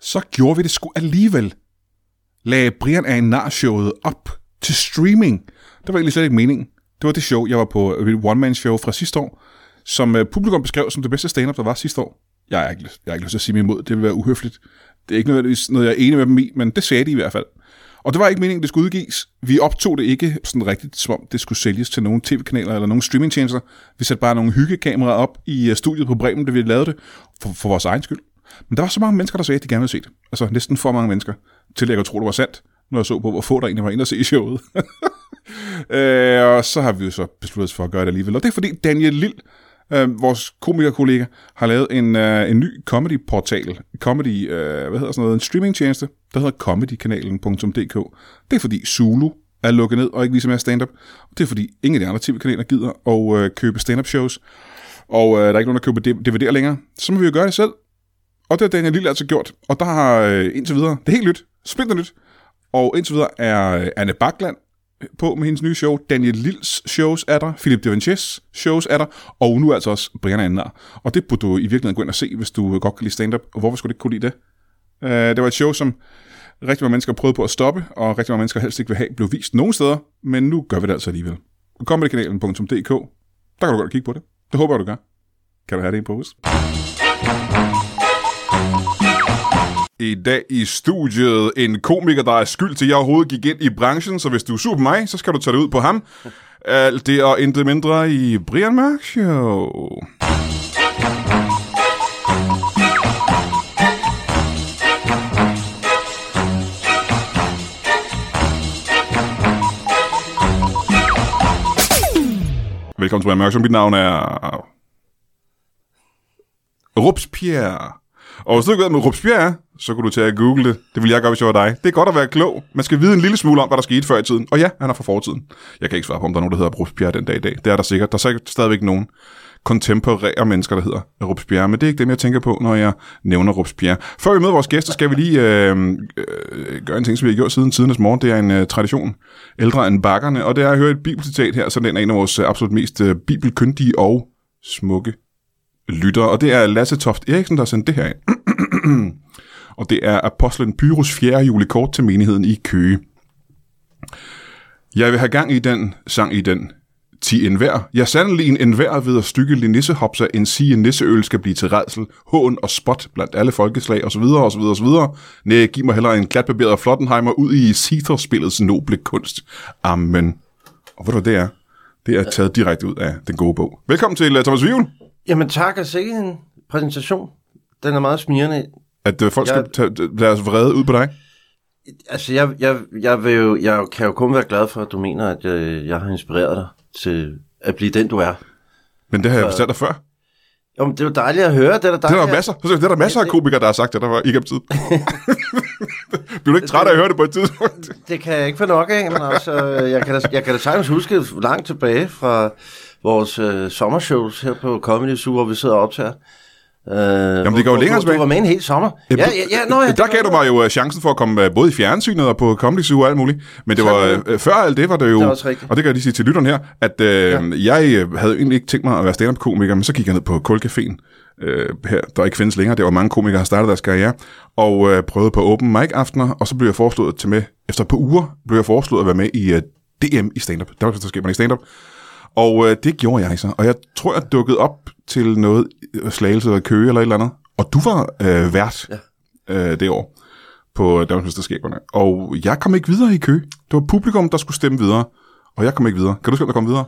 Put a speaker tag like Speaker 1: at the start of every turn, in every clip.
Speaker 1: Så gjorde vi det sgu alligevel. Lagde Brian af Nar-showet op til streaming. Det var egentlig slet ikke meningen. Det var det show, jeg var på, et one-man-show fra sidste år, som øh, publikum beskrev som det bedste stand-up, der var sidste år. Jeg har ikke, lyst- jeg har ikke lyst til at sige mig imod, det vil være uhøfligt. Det er ikke nødvendigvis noget, jeg er enig med dem i, men det sagde de i hvert fald. Og det var ikke meningen, det skulle udgives. Vi optog det ikke sådan rigtigt, som om det skulle sælges til nogle tv-kanaler eller nogle streamingtjenester. Vi satte bare nogle hyggekameraer op i øh, studiet på Bremen, da vi lavede det, for, for vores egen skyld. Men der var så mange mennesker, der sagde, at de gerne ville se det. Altså næsten for mange mennesker, til at jeg kunne tro, det var sandt, når jeg så på, hvor få der egentlig var inde og se i showet. Øh, og så har vi jo så besluttet os for at gøre det alligevel. Og det er fordi Daniel Lille, øh, vores komikerkollega, har lavet en, øh, en ny comedy-portal. Comedy, øh, hvad hedder sådan noget? En streamingtjeneste, der hedder comedykanalen.dk. Det er fordi Zulu er lukket ned og ikke viser mere stand-up. Og det er fordi ingen af de andre tv-kanaler gider at øh, købe stand-up shows. Og øh, der er ikke nogen, der køber DVD'er længere. Så må vi jo gøre det selv. Og det har Daniel Lille altså gjort. Og der har øh, indtil videre, det er helt nyt, splinter nyt. Og indtil videre er øh, Anne Bakland på med hendes nye show. Daniel Lills shows er der. Philip Devanches shows er der. Og nu altså også Brian Andner. Og det burde du i virkeligheden gå ind og se, hvis du øh, godt kan lide stand-up. Og hvorfor skulle du ikke kunne lide det? Øh, det var et show, som rigtig mange mennesker prøvede på at stoppe, og rigtig mange mennesker helst ikke vil have, blev vist nogen steder. Men nu gør vi det altså alligevel. Comedykanalen.dk Der kan du godt kigge på det. Det håber jeg, du gør. Kan du have det i en pose? I dag i studiet en komiker, der er skyld til, at jeg overhovedet gik ind i branchen, så hvis du er sur på mig, så skal du tage det ud på ham. Alt det og intet mindre i Brian Mørk Show. Velkommen til Brian Mørk Show. Mit navn er... Rupspierre. Og hvis du ikke ved, hvad Rupspierre er, så kan du tage og google det. Det vil jeg gøre, hvis jeg var dig. Det er godt at være klog. Man skal vide en lille smule om, hvad der skete før i tiden. Og ja, han er fra fortiden. Jeg kan ikke svare på, om der er nogen, der hedder Rupspierre den dag i dag. Det er der sikkert. Der er sikkert stadigvæk nogen kontemporære mennesker, der hedder Rupspierre. Men det er ikke dem, jeg tænker på, når jeg nævner Rupspierre. Før vi møder vores gæster, skal vi lige øh, øh, gøre en ting, som vi har gjort siden tidernes morgen. Det er en øh, tradition ældre end bakkerne. Og det er at høre et bibelcitat her, så den er en af vores øh, absolut mest øh, bibelkyndige og smukke lyttere, og det er Lasse Toft Eriksen, der har sendt det her ind. og det er Apostlen Pyrus 4. julekort til menigheden i Køge. Jeg vil have gang i den, sang i den. Ti enhver. Ja, sandelig en enhver ved at stykke linissehopser, en sige nisseøl skal blive til redsel, hån og spot blandt alle folkeslag osv. osv. osv. Næh, giv mig hellere en glatbarberet Flottenheimer ud i Sitherspillets noble kunst. Amen. Og ved du, hvad det er? Det er taget direkte ud af den gode bog. Velkommen til øh, Thomas Vivel.
Speaker 2: Jamen tak, og sikke en præsentation. Den er meget smirrende.
Speaker 1: At øh, folk
Speaker 2: Jeg-
Speaker 1: skal tage, tage deres vrede ud på dig?
Speaker 2: Altså, jeg, jeg, jeg, vil jo, jeg kan jo kun være glad for, at du mener, at øh, jeg, jeg har inspireret dig til at blive den, du er.
Speaker 1: Men det har jeg fortalt dig før.
Speaker 2: Jo, men det er jo dejligt at høre. Det er da
Speaker 1: Det
Speaker 2: dejligt,
Speaker 1: er der masser, så det er der masser af komikere, der har sagt det, der var igennem tid. Bliver du ikke træt af at høre det på et tidspunkt?
Speaker 2: at- det kan jeg ikke få nok af, men altså, jeg kan da, jeg kan da sagtens huske langt tilbage fra vores øh, sommershows her på Comedy Zoo, hvor vi sidder og optager. Øh, Jamen,
Speaker 1: går jo længere
Speaker 2: Du,
Speaker 1: tilbage.
Speaker 2: du var med en hel sommer. Ja, ja, ja, nå, ja
Speaker 1: der gav du mig jo øh, chancen for at komme øh, både i fjernsynet og på Comedy Zoo og alt muligt. Men det var øh, før alt det, var det jo...
Speaker 2: Det er også rigtigt.
Speaker 1: og det kan jeg lige sige til lytteren her, at øh, ja. jeg øh, havde jo egentlig ikke tænkt mig at være stand-up-komiker, men så gik jeg ned på Kulcaféen, øh, her, der ikke findes længere. Det var mange komikere, der har startet deres karriere, og øh, prøvede på open mic-aftener, og så blev jeg foreslået til med... Efter et par uger blev jeg foreslået at være med i øh, DM i stand-up. Der var så man i stand-up. Og øh, det gjorde jeg så. Og jeg tror, jeg dukkede op til noget øh, slagelse eller køge eller et eller andet. Og du var øh, vært ja. øh, det år på Danmarksmesterskaberne. Og jeg kom ikke videre i kø. Det var publikum, der skulle stemme videre. Og jeg kom ikke videre. Kan du huske, hvem der kom videre?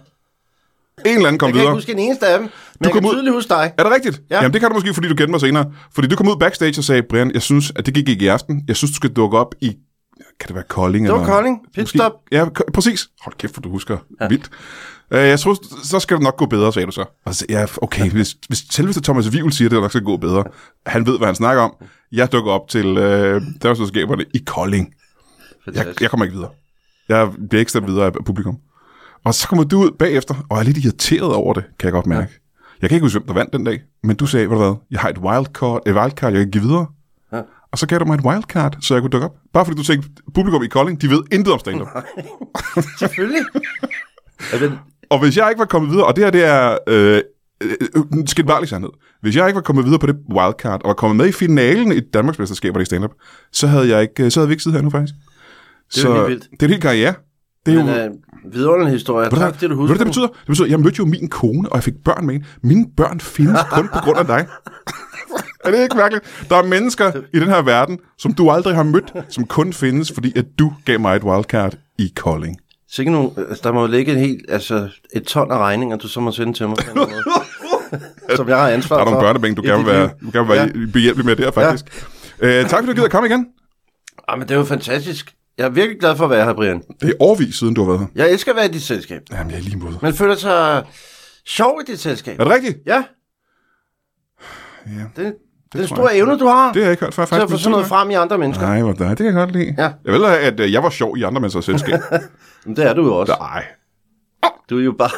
Speaker 1: En eller anden kom
Speaker 2: Jeg kan ikke
Speaker 1: videre.
Speaker 2: huske en eneste af dem, men jeg
Speaker 1: kom
Speaker 2: kan
Speaker 1: ud-
Speaker 2: tydeligt huske dig.
Speaker 1: Er det rigtigt?
Speaker 2: Ja.
Speaker 1: Jamen, det kan du måske, fordi du kendte mig senere. Fordi du kom ud backstage og sagde, Brian, jeg synes, at det gik ikke i aften. Jeg synes, du skal dukke op i... Kan det være Kolding?
Speaker 2: Det var
Speaker 1: eller-
Speaker 2: Kolding. Pitstop.
Speaker 1: Måske- Ja, k- præcis. Hold kæft, hvor du husker. Ja. Vildt. Øh, jeg tror, så skal det nok gå bedre, sagde du så. Og så ja, okay, ja. hvis, hvis selveste Thomas Wivel siger, at det nok skal gå bedre. Han ved, hvad han snakker om. Jeg dukker op til øh, Danmarksmesterskaberne i Kolding. Jeg, jeg kommer ikke videre. Jeg bliver ikke stemt videre af publikum. Og så kommer du ud bagefter, og er lidt irriteret over det, kan jeg godt mærke. Jeg kan ikke huske, hvem der vandt den dag, men du sagde, ved du hvad, jeg har et wildcard, et wildcard jeg kan give videre.
Speaker 2: Ja.
Speaker 1: Og så gav du mig et wildcard, så jeg kunne dukke op. Bare fordi du tænkte, publikum i Kolding, de ved intet om stand
Speaker 2: Selvfølgelig. Ja, men,
Speaker 1: Og hvis jeg ikke var kommet videre, og det her det er øh, øh, øh, skidvarlig sandhed. Hvis jeg ikke var kommet videre på det wildcard, og var kommet med i finalen i Danmarks Mesterskaber i stand-up, så havde, jeg ikke, øh, så havde vi ikke siddet her nu faktisk.
Speaker 2: Det er
Speaker 1: så,
Speaker 2: jo helt vildt.
Speaker 1: Det er en hel karriere. Det er
Speaker 2: Men
Speaker 1: jo,
Speaker 2: øh, vidunderlig historie.
Speaker 1: Ved du
Speaker 2: Tak,
Speaker 1: hvad-
Speaker 2: det du
Speaker 1: Ved du,
Speaker 2: husker.
Speaker 1: hvad det betyder? Det betyder, at jeg mødte jo min kone, og jeg fik børn med hende. Mine børn findes kun på grund af dig. er det ikke mærkeligt? Der er mennesker i den her verden, som du aldrig har mødt, som kun findes, fordi at du gav mig et wildcard i Kolding.
Speaker 2: Sikke nogle, altså, der må jo ligge en helt, altså, et ton af regninger, du så må sende til mig. på en eller anden måde. som jeg har ansvar
Speaker 1: Der
Speaker 2: for.
Speaker 1: er nogle børnebænk, du
Speaker 2: i
Speaker 1: gerne
Speaker 2: dit
Speaker 1: vil være,
Speaker 2: liv.
Speaker 1: du gerne vil være behjælpelig med der, faktisk. Ja. Øh, tak fordi du gider komme igen.
Speaker 2: Ja. Ej, Ah, men det er jo fantastisk. Jeg er virkelig glad for at være her, Brian.
Speaker 1: Det er årvis siden, du har været her.
Speaker 2: Jeg elsker at være i dit selskab.
Speaker 1: Jamen, jeg er lige måde.
Speaker 2: Man føler sig sjov i dit selskab.
Speaker 1: Er det rigtigt?
Speaker 2: Ja.
Speaker 1: Ja.
Speaker 2: Det, det, det er en
Speaker 1: tror
Speaker 2: stor
Speaker 1: jeg.
Speaker 2: evne, du har
Speaker 1: Det har jeg ikke hørt før,
Speaker 2: til
Speaker 1: faktisk.
Speaker 2: at få sådan noget frem i andre mennesker.
Speaker 1: Nej, hvor det kan jeg godt lide.
Speaker 2: Ja.
Speaker 1: Jeg vil have, at øh, jeg var sjov i andre menneskers selskab.
Speaker 2: Men det er du jo også.
Speaker 1: Nej.
Speaker 2: Du er jo bare...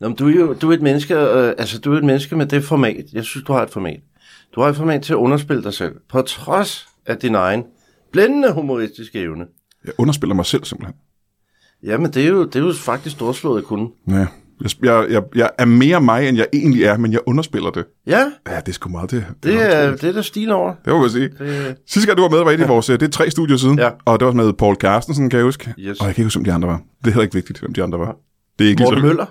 Speaker 2: Nå, men du er jo du er et menneske, øh, altså, du er et menneske med det format. Jeg synes, du har et format. Du har et format til at underspille dig selv, på trods af din egen blændende humoristiske evne.
Speaker 1: Jeg underspiller mig selv, simpelthen.
Speaker 2: Jamen, det er jo, det er jo faktisk storslået kun.
Speaker 1: Ja. Jeg, jeg, jeg, jeg er mere mig, end jeg egentlig er, men jeg underspiller det.
Speaker 2: Ja,
Speaker 1: Ja, det er sgu meget det.
Speaker 2: det
Speaker 1: er,
Speaker 2: er det, er der stil over.
Speaker 1: det må man sige.
Speaker 2: Det-
Speaker 1: Sidste gang, du var med, var et i vores, øh, det er tre studier siden,
Speaker 2: Ja.
Speaker 1: og det var med Paul Carstensen, kan jeg huske.
Speaker 2: Yes.
Speaker 1: Og jeg kan ikke huske, hvem de andre var. Det er heller ikke vigtigt, hvem de andre var. Det er ikke
Speaker 2: Morten
Speaker 1: lige så...
Speaker 2: Møller.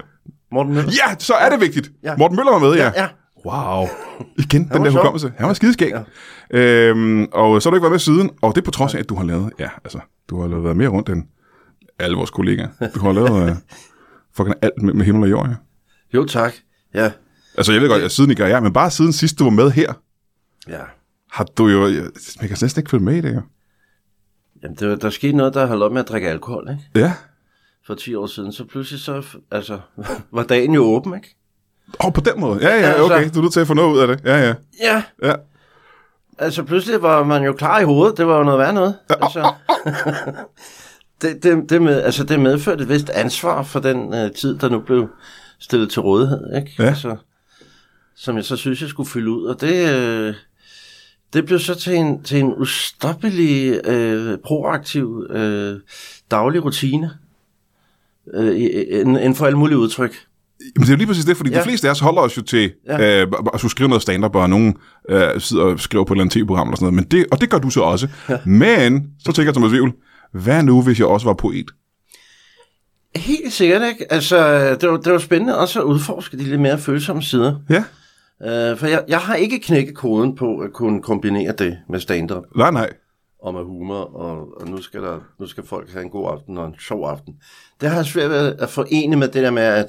Speaker 2: Morten Møller.
Speaker 1: Ja, så er det vigtigt.
Speaker 2: Ja.
Speaker 1: Morten Møller var med, ja.
Speaker 2: Ja,
Speaker 1: Wow. Igen, den
Speaker 2: var
Speaker 1: der
Speaker 2: sjov.
Speaker 1: hukommelse. Han var skideskæg. Ja. Øhm, og så har du ikke været med siden, og det er på trods af, at du har lavet... Ja, altså, du har været mere rundt end alle vores kollegaer. Du har lavet øh, fucking alt med, med himmel og jord, ja.
Speaker 2: Jo, tak. Ja,
Speaker 1: Altså, jeg ved godt, at siden ikke er jeg, men bare siden sidst, du var med her,
Speaker 2: ja.
Speaker 1: har du jo... Jeg, jeg kan næsten ikke følge med i det, jo.
Speaker 2: Jamen, det, var- der skete noget, der holdt op med at drikke alkohol, ikke?
Speaker 1: Ja.
Speaker 2: For 10 år siden, så pludselig så, altså, var dagen jo åben, ikke?
Speaker 1: Åh, oh, på den måde. Ja, ja,
Speaker 2: Altså-
Speaker 1: okay. Du er nødt til at få noget ud af det. Ja, ja.
Speaker 2: Ja,
Speaker 1: ja.
Speaker 2: Altså, pludselig var man jo klar i hovedet. Det var jo noget værd noget. Altså, det, det, det, med, altså, det medførte et vist ansvar for den øh, tid, der nu blev stillet til rådighed. Ikke?
Speaker 1: Ja.
Speaker 2: Altså, som jeg så synes, jeg skulle fylde ud. Og det, øh, det blev så til en, til en ustoppelig, øh, proaktiv, øh, daglig rutine. Øh, i- i- inden inden for alle mulige udtryk.
Speaker 1: Men det er jo lige præcis det, fordi ja.
Speaker 2: Ja.
Speaker 1: de fleste af os holder os jo til ja.
Speaker 2: Ja.
Speaker 1: øh, at skulle skrive noget stand-up, og nogen øh, sidder og skriver på et eller andet tv-program eller sådan noget. Men det, og det gør du så også. Ja. Men, så tænker jeg Thomas Vivl, hvad nu, hvis jeg også var poet?
Speaker 2: Helt sikkert, ikke? Altså, det var, det var spændende også at udforske de lidt mere følsomme sider.
Speaker 1: Ja.
Speaker 2: Øh, for jeg, jeg har ikke knækket koden på at kunne kombinere det med stand-up
Speaker 1: Nej, nej.
Speaker 2: og med humor, og, og nu, skal der, nu skal folk have en god aften og en sjov aften. Det har jeg svært ved at forene med det der med at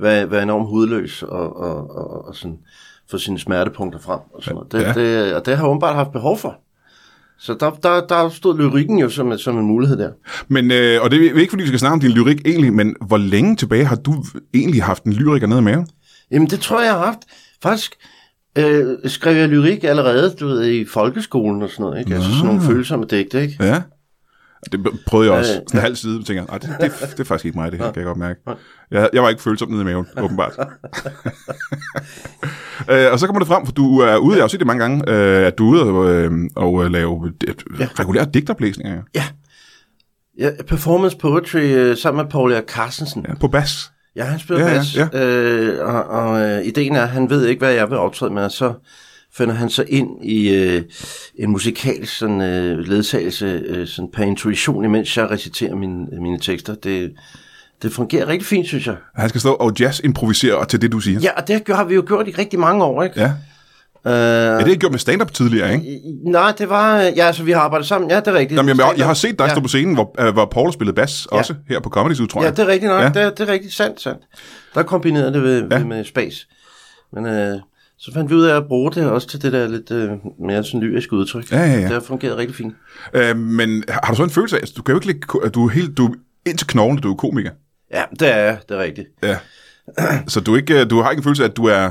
Speaker 2: være, være enormt hudløs og, og, og, og sådan, få sine smertepunkter frem. Og, sådan noget. Det,
Speaker 1: Ja.
Speaker 2: ja. det, og det har jeg åbenbart haft behov for. Så der, der, der stod lyrikken jo som, en- som en mulighed der.
Speaker 1: Men, øh, og det er ikke, fordi vi skal snakke om din lyrik egentlig, men hvor længe tilbage har du egentlig haft en lyriker nede i maven?
Speaker 2: Jamen, det tror jeg, jeg har haft. Faktisk øh, skrev jeg lyrik allerede, du ved, i folkeskolen og sådan noget, ikke? Altså sådan nogle følsomme digte, ikke?
Speaker 1: Ja. Det prøvede jeg også.
Speaker 2: Øh,
Speaker 1: Sådan en halv side, tænker jeg, "Nej, det, det, det er faktisk ikke mig, det her, kan jeg godt mærke. Jeg, jeg var ikke følsom nede i maven, åbenbart. øh, og så kommer det frem, for du er ude, jeg har jo set det mange gange, øh, at du er ude og, øh, og øh, lave et, ja. regulære digteroplæsninger ja.
Speaker 2: Ja, performance poetry øh, sammen med Paul Erik Carstensen. Ja,
Speaker 1: på bas.
Speaker 2: ja han spiller
Speaker 1: Ja, ja,
Speaker 2: bas,
Speaker 1: ja.
Speaker 2: Øh, og, og øh, ideen er, at han ved ikke, hvad jeg vil optræde med, og så finder han sig ind i øh, en musikalsk sådan, øh, ledsagelse øh, sådan per intuition, imens jeg reciterer mine, mine tekster. Det, det fungerer rigtig fint, synes jeg.
Speaker 1: Han skal stå og jazz improvisere til det, du siger.
Speaker 2: Ja, og det har vi jo gjort i rigtig mange år, ikke?
Speaker 1: ja.
Speaker 2: Øh,
Speaker 1: ja det har jeg gjort med stand-up tidligere, ikke?
Speaker 2: Nej, det var... øh, Ja, altså, vi har arbejdet sammen. Ja, det er rigtigt.
Speaker 1: Jamen, jeg, jeg, jeg har
Speaker 2: Ja.
Speaker 1: set dig stå på scenen, hvor, øh, hvor Paul spillede bas,
Speaker 2: Ja.
Speaker 1: også her på Comedy Zoo, tror
Speaker 2: Ja,
Speaker 1: jeg.
Speaker 2: det er rigtigt nok.
Speaker 1: Ja.
Speaker 2: Ja. Det, er, det er rigtigt sandt, sandt. Der kombinerede det ved,
Speaker 1: Ja.
Speaker 2: ja. med space. Men øh, så fandt vi ud af at bruge det også til det der lidt øh, mere sådan lyriske udtryk.
Speaker 1: Ja, ja, ja.
Speaker 2: Det har fungeret rigtig fint.
Speaker 1: Øh, men har du så en følelse af, altså, du kan jo ikke ligge, ko- du er helt, du er ind til knoglen, du er komiker.
Speaker 2: Ja, det er jeg. Det er rigtigt.
Speaker 1: Ja. Så du, er ikke, øh, du har ikke en følelse af, at du er...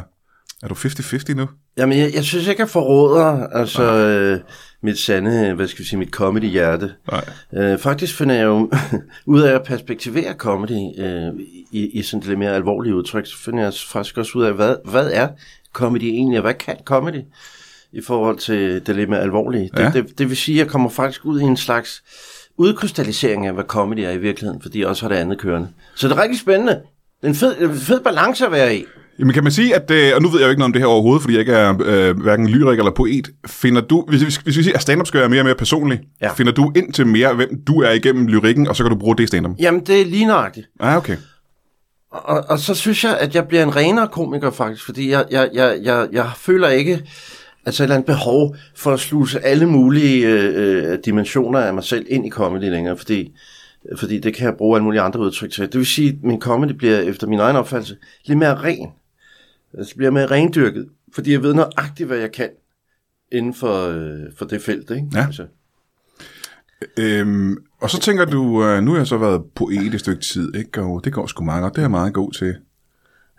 Speaker 1: Er du 50-50 nu?
Speaker 2: Jamen, jeg, jeg synes ikke, jeg forråder altså, øh, mit sande, øh, hvad skal vi sige, mit comedy-hjerte.
Speaker 1: Nej.
Speaker 2: Øh, faktisk finder jeg jo ud af at perspektivere comedy øh, i, i sådan lidt mere alvorlige udtryk, så finder jeg faktisk også ud af, hvad, hvad er comedy egentlig, og hvad kan comedy i forhold til det lidt mere alvorlige.
Speaker 1: Ja.
Speaker 2: Det, det, det vil sige, at jeg kommer faktisk ud i en slags udkrystallisering af, hvad comedy er i virkeligheden, fordi jeg også har det andet kørende. Så det er rigtig spændende. Det er en fed, en fed balance at være i.
Speaker 1: Jamen kan man sige, at, øh, og nu ved jeg jo ikke noget om det her overhovedet, fordi jeg ikke er øh, hverken lyrik eller poet, finder du, hvis, hvis, hvis vi siger, at stand-up skal være mere og mere personlig, ja.
Speaker 2: Ja.
Speaker 1: finder du ind til mere, hvem du er igennem lyrikken, og så kan du bruge det i stand-up?
Speaker 2: Jamen, det er lige nøjagtigt.
Speaker 1: Ah, okay.
Speaker 2: Og, og så synes jeg, at jeg bliver en renere komiker faktisk, fordi jeg, jeg, jeg, jeg, jeg føler ikke altså et eller andet behov for at sluse alle mulige øh, øh, dimensioner af mig selv ind i comedy længere, fordi, fordi det kan jeg bruge alle mulige andre udtryk til. Det vil sige, at min comedy bliver, efter min egen opfattelse, lidt mere ren. Altså bliver mere rendyrket, fordi jeg ved nøjagtigt, hvad jeg kan inden for, øh, for det felt, ikke?
Speaker 1: Ja.
Speaker 2: Altså,
Speaker 1: Øhm, og så tænker du, øh, nu har jeg så været poet et stykke tid, ikke? og det går sgu meget godt, det er jeg meget god til.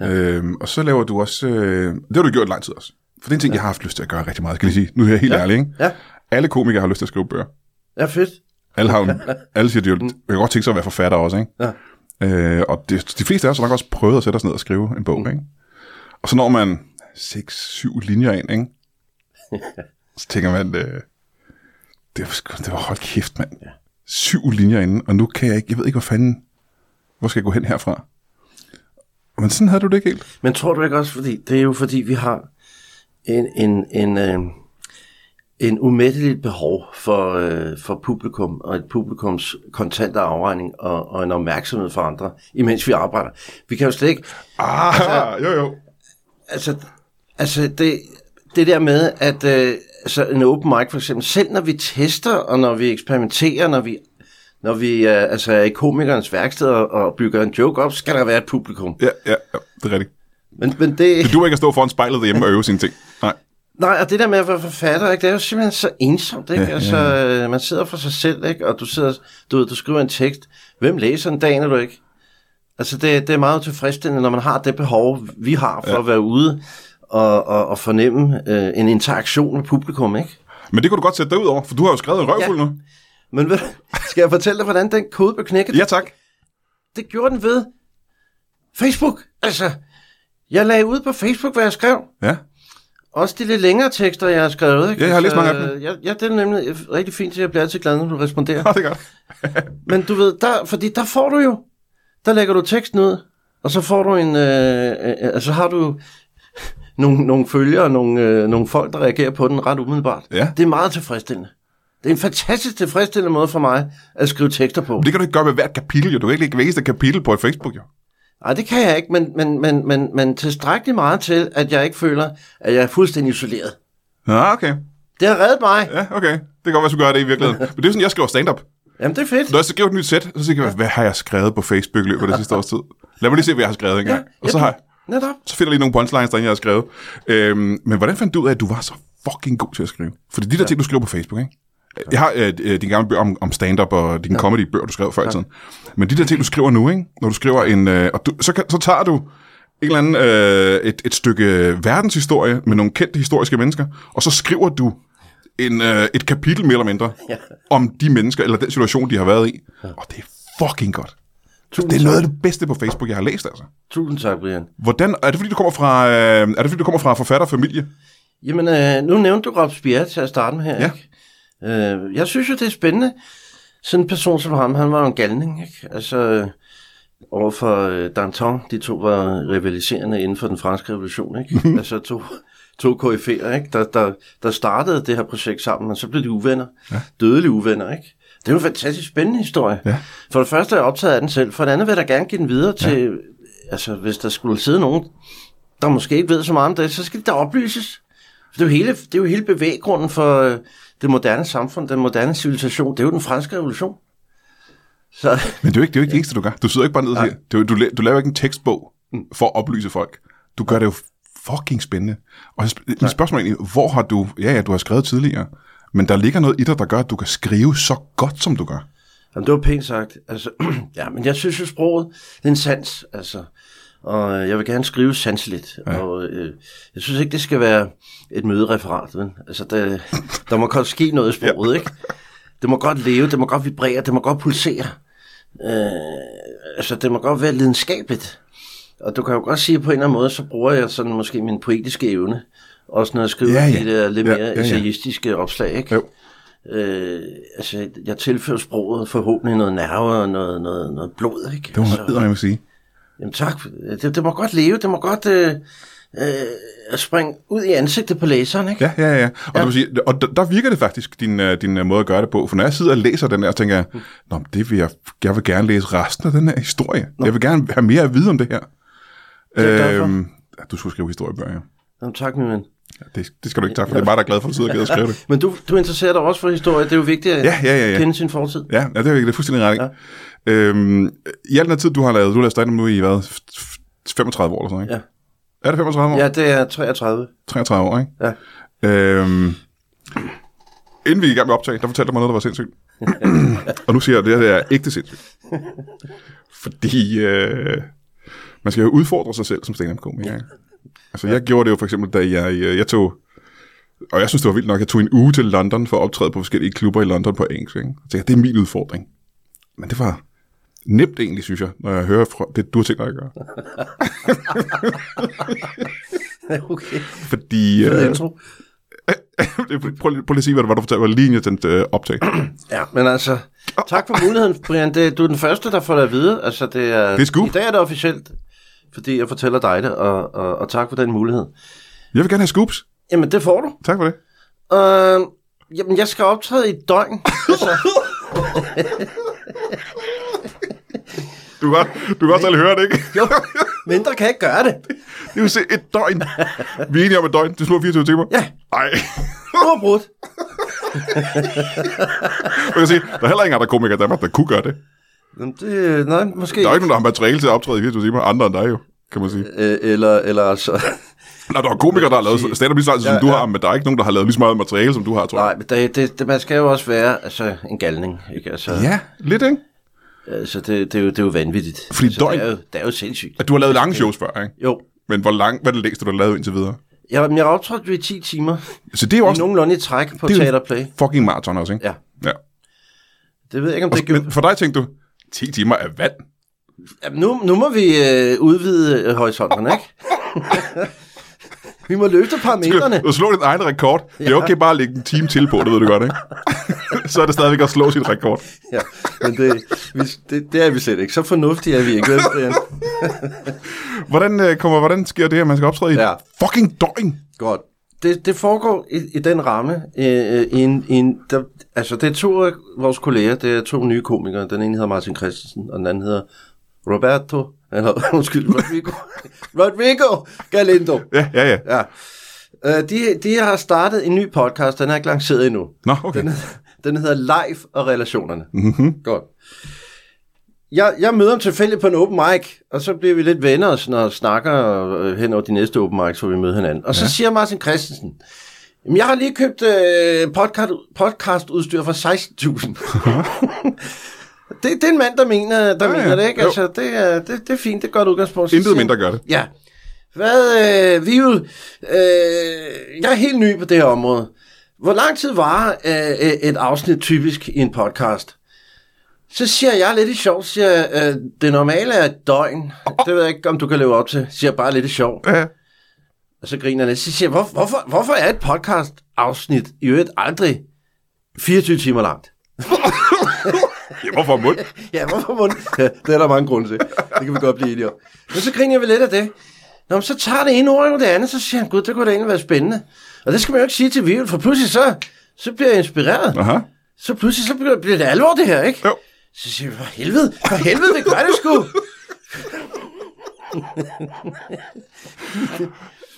Speaker 1: Ja. Øhm, og så laver du også, øh, det har du gjort i lang tid også, for det er en ting, ja. jeg har haft lyst til at gøre rigtig meget, skal jeg lige sige. Nu er jeg helt ja. ærlig, ikke?
Speaker 2: ja,
Speaker 1: Alle komikere har lyst til at skrive bøger.
Speaker 2: ja, fedt.
Speaker 1: Alle, har, jo- alle siger, at de jo- jeg kan godt tænke sig at være forfatter også, ikke?
Speaker 2: Ja.
Speaker 1: Øh, og det, de fleste af os har nok også prøvet at sætte os ned og skrive en bog, mm. ikke? Og så når man 6-7 linjer ind, ikke? så tænker man, øh, det, var, sgu- det var hold kæft, mand. Syv linjer inden, og nu kan jeg ikke, jeg ved ikke, hvor fanden, hvor skal jeg gå hen herfra? Men sådan havde du det ikke helt.
Speaker 2: Men tror du ikke også, fordi det er jo fordi, vi har en, en, en, øh, en umætteligt behov for, øh, for publikum, og et publikums kontante afregning, og, og en opmærksomhed for andre, imens vi arbejder. Vi kan jo slet ikke,
Speaker 1: Ah, jo jo.
Speaker 2: altså, altså det, det der med, at øh, altså en open mic for eksempel, selv når vi tester, og når vi eksperimenterer, når vi, når vi øh, altså er i komikernes værksted og, og bygger en joke op, skal der være et publikum.
Speaker 1: Ja, ja, ja, det er rigtigt.
Speaker 2: Men, men det,
Speaker 1: Det duer ikke at stå foran spejlet derhjemme og øve sine ting. Nej.
Speaker 2: Nej, og det der med at være forfatter, ikke, det er jo simpelthen så ensomt. Ikke? Ja, altså, øh, man sidder for sig selv, ikke? og du, sidder, du, ved, du skriver en tekst. Hvem læser den dagen, er du ikke? Altså, det, det er meget tilfredsstillende, når man har det behov, vi har for ja. at være ude og, og, og fornemme øh, en interaktion med publikum. ikke?
Speaker 1: Men det kunne du godt sætte dig ud over, for du har jo skrevet en røvfuld ja. nu.
Speaker 2: Men ved, du- skal jeg fortælle dig, hvordan den kode blev knækket?
Speaker 1: Ja, tak.
Speaker 2: det gjorde den ved Facebook. Altså, jeg lagde ud på Facebook, hvad jeg skrev.
Speaker 1: Ja.
Speaker 2: Også de lidt længere tekster, jeg har skrevet. Ikke?
Speaker 1: Ja, jeg har læst mange af
Speaker 2: dem. Ja, ja, det er nemlig øh, rigtig fint, så jeg bliver altid glad, når du
Speaker 1: Nå,
Speaker 2: responderer.
Speaker 1: det er godt.
Speaker 2: Men du ved, der, fordi der får du jo, der lægger du teksten ud, og så får du en, øh, øh, altså har du nogle, nogle følgere, nogle, øh, nogle folk, der reagerer på den ret umiddelbart.
Speaker 1: Ja.
Speaker 2: Det er meget tilfredsstillende. Det er en fantastisk tilfredsstillende måde for mig at skrive tekster på.
Speaker 1: Men det kan du ikke gøre med hvert kapitel, jo. Du kan ikke lægge hver eneste kapitel på et Facebook, jo.
Speaker 2: Nej, det kan jeg ikke, men, men, men, men, men tilstrækkeligt meget til, at jeg ikke føler, at jeg er fuldstændig isoleret.
Speaker 1: Nå, okay.
Speaker 2: Det har reddet mig.
Speaker 1: Ja, okay. Det kan godt være, du gør det i virkeligheden. Men det er sådan, jeg skriver stand-up.
Speaker 2: Jamen, det er fedt.
Speaker 1: Når jeg så skriver et nyt sæt, så tænker jeg, hvad har jeg skrevet på Facebook i løbet af det sidste års tid? Lad mig lige se, hvad jeg har skrevet engang. Og så, har jeg,
Speaker 2: Netop.
Speaker 1: så finder jeg lige nogle punchlines, derinde, jeg har skrevet. Øhm, men hvordan fandt du ud af, at du var så fucking god til at skrive? Fordi de der ting, du skriver på Facebook, ikke? Jeg har øh, øh, din gamle bøger om, om stand-up og din comedy-bøger, du skrev før i tiden. Men de der ting, du skriver nu, ikke? Når du skriver en... Øh, og du, så, kan, så tager du en eller anden, øh, et, et stykke verdenshistorie med nogle kendte historiske mennesker, og så skriver du en, øh, et kapitel mere eller mindre ja. om de mennesker, eller den situation, de har været i. Ja. Og det er fucking godt.
Speaker 2: Tusind
Speaker 1: Det er noget
Speaker 2: tak.
Speaker 1: af det bedste på Facebook, jeg har læst, altså.
Speaker 2: Tusind tak, Brian.
Speaker 1: Hvordan, er det fordi, du kommer fra, øh, er det fordi, du kommer fra forfatterfamilie?
Speaker 2: Jamen, øh, nu nævnte du Rob Spier til at starte med her,
Speaker 1: Ja.
Speaker 2: ikke? Øh, jeg synes jo, det er spændende. Sådan en person som ham, han var jo en galning, ikke? Altså, øh, overfor øh, Danton, de to var rivaliserende inden for den franske revolution, ikke? altså to, to KF'er, ikke? Der, der, der startede det her projekt sammen, men så blev de uvenner. Ja. Dødelige uvenner, ikke? Det er jo en fantastisk spændende historie.
Speaker 1: Ja.
Speaker 2: For det første er jeg optaget af den selv, for det andet vil jeg da gerne give den videre ja. til, altså hvis der skulle sidde nogen, der måske ikke ved så meget om det, så skal det da oplyses. Det er jo hele, det er jo hele bevæggrunden for øh, det moderne samfund, den moderne civilisation. Det er jo den franske revolution. Så
Speaker 1: Men det er jo ikke det, er jo ikke det eneste, du gør. Du sidder ikke bare ned og siger, du, du, la- du laver ikke en tekstbog for at oplyse folk. Du gør det jo fucking spændende. Og så sp- mit spørgsmål er egentlig, hvor har du, ja ja, du har skrevet tidligere, men der ligger noget i dig, der gør, at du kan skrive så godt, som du gør.
Speaker 2: Jamen, det var pænt sagt. Altså, ja, men jeg synes jo, sproget det er en sans, altså. Og øh, jeg vil gerne skrive sanseligt. Ja. Og øh, jeg synes ikke, det skal være et mødereferat. Men, altså, der, der må godt ske noget i sproget, ja. ikke? Det må godt leve, det må godt vibrere, det må godt pulsere. Øh, altså, det må godt være lidenskabeligt. Og du kan jo godt sige, at på en eller anden måde, så bruger jeg sådan måske min poetiske evne. Også når jeg skriver
Speaker 1: Ja,
Speaker 2: ja,
Speaker 1: ja.
Speaker 2: ja. de der lidt
Speaker 1: Ja,
Speaker 2: mere
Speaker 1: ja,
Speaker 2: ja,
Speaker 1: ja.
Speaker 2: ja, essayistiske opslag, ikke?
Speaker 1: Jo.
Speaker 2: Øh, altså, jeg tilfører sproget forhåbentlig noget nerve og noget, noget, noget blod, ikke? Altså,
Speaker 1: Det må man eddermame sige.
Speaker 2: Jamen tak. Det, det må godt leve. Det må godt øh, øh, springe ud i ansigtet på læseren, ikke?
Speaker 1: Ja, ja, ja. Og, ja. Du vil sige, og der, der virker det faktisk, din, øh, din øh, måde at gøre det på. For når jeg sidder og læser den her, så tænker jeg, Nå, men det vil jeg, jeg vil gerne læse resten af den her historie. Nå. Jeg vil gerne have mere at vide om det her.
Speaker 2: Det er
Speaker 1: Øhm.
Speaker 2: derfor.
Speaker 1: ja, du skulle skrive historiebøger, ja.
Speaker 2: Jamen tak, min ven.
Speaker 1: ja det, det skal du ikke tage, for det er mig, der er glad for, at du sidder og gider at skrive det.
Speaker 2: Men du, du interesserer dig også for historie. Det er jo vigtigt at
Speaker 1: Ja, ja, ja, ja.
Speaker 2: kende sin fortid.
Speaker 1: Ja, ja det er, det er fuldstændig ret, ikke? Ja. Øhm, I al den her tid, du har lavet, du har lavet stand nu i, hvad, f- f- 35 år eller sådan noget, ikke? Ja. Er det 35 år?
Speaker 2: Ja, det er 33.
Speaker 1: 33 år, ikke?
Speaker 2: Ja.
Speaker 1: Øhm, inden vi gik i gang med optag, der fortalte du mig noget, der var sindssygt. og nu siger jeg, at det her det er ægte sindssygt. Fordi øh, man skal jo udfordre sig selv som stand komiker ikke? Altså, jeg gjorde det jo for eksempel, da jeg, øh, jeg tog... Og jeg synes, det var vildt nok, jeg tog en uge til London for at optræde på forskellige klubber i London på engelsk. Ikke? Så tænkte jeg, det er min udfordring. Men det var nemt egentlig, synes jeg, når jeg hører fra det, du har tænkt dig at gøre.
Speaker 2: okay.
Speaker 1: Fordi...
Speaker 2: Fed
Speaker 1: Øh,
Speaker 2: intro.
Speaker 1: prøv, lige- prøv lige at sige, hvad det var, du fortalte mig lige inden jeg tændte øh, optag.
Speaker 2: Ja, men altså, tak for muligheden, Brian. Det, du er den første, der får det at vide. Altså, det er,
Speaker 1: er scoop.
Speaker 2: I dag er det officielt, fordi jeg fortæller dig det, og, og, og tak for den mulighed.
Speaker 1: Jeg vil gerne have scoops.
Speaker 2: Jamen, det får du.
Speaker 1: Tak for det.
Speaker 2: Øh, jamen, jeg skal optræde i et døgn. Altså,
Speaker 1: Du kan, godt, du kan godt selv høre det, ikke?
Speaker 2: jo, mindre kan jeg ikke gøre det.
Speaker 1: Det vil sige et døgn. Vi er enige om et døgn. Det slår 24 timer.
Speaker 2: Ja.
Speaker 1: Ej.
Speaker 2: Uafbrudt.
Speaker 1: Man kan sige, der er heller ingen andre komikere i Danmark, der kunne gøre det.
Speaker 2: Jamen, det, nej, måske.
Speaker 1: Der er ikke nogen, der har materiale til at optræde i 24 timer, andre end dig jo, kan man sige.
Speaker 2: Øh, eller, eller altså...
Speaker 1: Nå, der er komikere, der har lavet stand-up lige så lang tid, som
Speaker 2: Ja,
Speaker 1: du
Speaker 2: ja.
Speaker 1: har, men der er ikke nogen, der har lavet lige så meget materiale, som du har, tror jeg.
Speaker 2: Nej, men det, det, det, man skal jo også være altså, en galning, ikke? Altså,
Speaker 1: Ja, lidt, ikke?
Speaker 2: altså det, det, er jo, det er jo vanvittigt.
Speaker 1: Fordi
Speaker 2: altså,
Speaker 1: døgn-
Speaker 2: Det er jo, det er jo sindssygt.
Speaker 1: At du har lavet lange shows før, ikke?
Speaker 2: Jo,
Speaker 1: Men hvor lang, hvad er det længste, du har lavet indtil videre?
Speaker 2: jeg, jeg har optrådt jo i 10 timer.
Speaker 1: Så det er jo også
Speaker 2: Nogenlunde i træk på
Speaker 1: Det er jo-
Speaker 2: Teaterplay.
Speaker 1: fucking maraton også, ikke?
Speaker 2: Ja.
Speaker 1: ja.
Speaker 2: Det ved jeg ikke, om
Speaker 1: Og,
Speaker 2: det gjorde.
Speaker 1: men for dig tænkte du, 10 timer af vand.
Speaker 2: Jamen, nu, nu må vi øh, udvide øh, horisonten, ikke? vi må løfte parametrene.
Speaker 1: Du slå din egen rekord. Det er okay bare at lægge en time til på, det ved du godt, ikke? så er det stadigvæk at slå sin rekord.
Speaker 2: Ja, men det, vi, det, det, er vi slet ikke. Så fornuftige er vi ikke, vel, Brian?
Speaker 1: Hvordan, øh, kommer, hvordan sker det, at man skal optræde i et
Speaker 2: Ja.
Speaker 1: fucking døgn?
Speaker 2: Godt. Det, det foregår i, i den ramme. Øh, øh, i en, i en, der, altså, det er to af vores kolleger. Det er to nye komikere. Den ene hedder Martin Christensen, og den anden hedder Roberto. Eller, undskyld, Rodrigo. Rodrigo Galindo.
Speaker 1: Ja, ja, ja.
Speaker 2: Ja. Øh, de, de har startet en ny podcast. Den er ikke lanceret endnu.
Speaker 1: Nå, okay.
Speaker 2: Den, den hedder Life og relationerne. Mm-hmm. Godt. Jeg, jeg møder ham tilfældigt på en open mic, og så bliver vi lidt venner og, sådan, og snakker øh, hen over de næste open mics, hvor vi møder hinanden. Og så ja. siger Martin Christensen, Jamen, jeg har lige købt øh, podcast, podcastudstyr for 16.000. det, det er en mand, der mener, der
Speaker 1: Ja,
Speaker 2: ja,
Speaker 1: ja.
Speaker 2: mener det, ikke?
Speaker 1: Jo.
Speaker 2: Altså, det, er, det, det er fint, det er et godt udgangspunkt. Så
Speaker 1: Intet
Speaker 2: siger han,
Speaker 1: mindre gør det.
Speaker 2: Ja. Hvad, øh, vi er jo, øh, jeg er helt ny på det her område. Hvor lang tid var øh, et afsnit typisk i en podcast? Så siger jeg lidt i sjov, siger jeg, øh, det normale er et døgn. Det ved jeg ikke, om du kan leve op til. Siger jeg bare lidt i sjov.
Speaker 1: Ja.
Speaker 2: Og så griner han lidt. Så siger jeg, hvor, hvorfor, hvorfor er et podcast-afsnit i øvrigt aldrig 24 timer langt?
Speaker 1: ja, hvorfor mund?
Speaker 2: Ja, hvorfor må den? Ja, det er der mange grunde til. Det kan vi godt blive enige om. Men så griner vi lidt af det. Nå, men så tager det ene ord jo det andet, så siger han, gud, det kunne da egentlig være spændende. Og det skal man jo ikke sige til Vivel, for pludselig så, så bliver jeg inspireret.
Speaker 1: Aha.
Speaker 2: Så pludselig så bliver, bliver det alvor, det her, ikke?
Speaker 1: Jo. Mm.
Speaker 2: Så siger vi, for helvede, for helvede, det gør det sgu.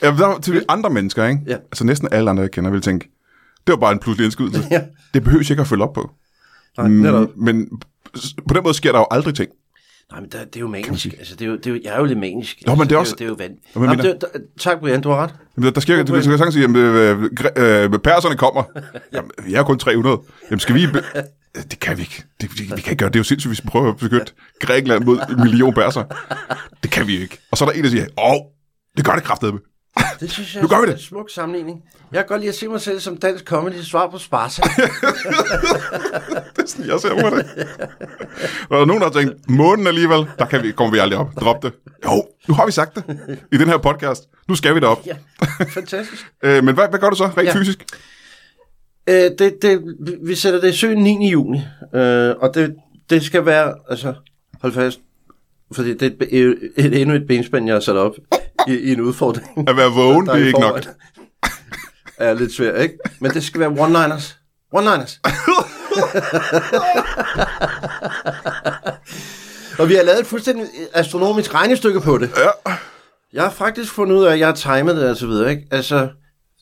Speaker 1: Ja, der, til andre mennesker, ikke?
Speaker 2: Ja.
Speaker 1: Altså næsten alle andre, jeg kender, vil tænke, det var bare en pludselig indskydelse.
Speaker 2: Ja.
Speaker 1: Det behøves jeg ikke at følge op på.
Speaker 2: Nej, netop.
Speaker 1: Men på den måde sker der jo aldrig ting.
Speaker 2: Nej, men der, det er jo manisk. Altså, det er jo, det er jo, jeg er jo lidt manisk.
Speaker 1: Nå, men
Speaker 2: altså,
Speaker 1: det er også-
Speaker 2: Det er jo, det er jo vand.
Speaker 1: Nå, men
Speaker 2: Jamen, det, der, tak, Brian, du har ret.
Speaker 1: Jamen, der sker, du kan sagtens sige, at øh, gre- øh, perserne kommer. Jamen, vi er kun 300. Jamen, skal vi... Be- Øh, det kan vi ikke. Det, vi, vi kan ikke gøre det. Det er jo sindssygt, hvis vi prøver at beskytte Grækenland mod en million perser. Det kan vi ikke. Og så er der en, der siger, åh, det gør det kraftedeme.
Speaker 2: Det synes jeg
Speaker 1: Nu gør vi
Speaker 2: er
Speaker 1: det.
Speaker 2: en smuk sammenligning. Jeg kan godt lide at se mig selv som dansk comedy svar på Sparta.
Speaker 1: Det er sådan, jeg ser på det. Og der er nogen, der har tænkt, månen alligevel, der kan vi, kommer vi aldrig op. Drop det. Jo, nu har vi sagt det i den her podcast. Nu skal vi derop.
Speaker 2: ja, fantastisk.
Speaker 1: Øh, men hvad, hvad gør du så rent ja.
Speaker 2: Ja.
Speaker 1: fysisk?
Speaker 2: Øh, det, det, vi- vi sætter det i søen 9. juni, øh, og det, det skal være, altså, hold fast, Fordi det er et, be- et, endnu et benspænd, jeg har sat op i, i en udfordring.
Speaker 1: At være vågen,
Speaker 2: der
Speaker 1: det er
Speaker 2: i
Speaker 1: ikke nok.
Speaker 2: forvejen Er lidt svært, ikke? Men det skal være one-liners. One-liners. Og vi har lavet et fuldstændig astronomisk regnestykke på det.
Speaker 1: Ja.
Speaker 2: Jeg har faktisk fundet ud af, at jeg har timet det og så videre, ikke? Altså,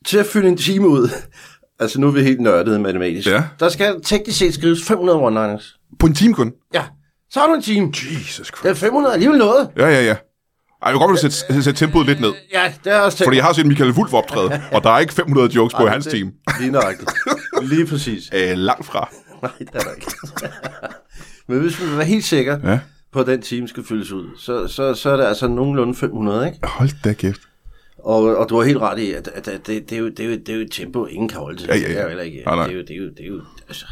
Speaker 2: til at fylde en time ud, altså nu er vi helt nørdede matematisk,
Speaker 1: Ja.
Speaker 2: der skal teknisk set skrives 500 one-liners.
Speaker 1: På en time kun.
Speaker 2: Ja, så har du en time.
Speaker 1: Jesus Christ.
Speaker 2: Det er 500 alligevel noget.
Speaker 1: Ja, ja, ja. Ej, jeg kan godt sætte,
Speaker 2: Øh,
Speaker 1: sætte, sætte tempoet lidt ned.
Speaker 2: Ja, det er også
Speaker 1: Fordi jeg har set Michael Wulff optræde, og der er ikke 500 jokes på hans team.
Speaker 2: Lige nøjagtigt. Lige præcis.
Speaker 1: Øh, langt fra.
Speaker 2: Nej, det er der ikke. Men hvis man vil være helt sikker
Speaker 1: Ja.
Speaker 2: ja. på, at den time skal fyldes ud, så, så, så er det altså nogenlunde 500, ikke?
Speaker 1: Hold da kæft.
Speaker 2: Og, og du har helt ret i, at, at, at det, det, er jo, det, er jo, det er jo et tempo, ingen kan holde til.
Speaker 1: Ja, ja, ja.
Speaker 2: Det er jo heller ikke.
Speaker 1: Nej, nej.
Speaker 2: Det er jo, det er jo, det er jo, altså,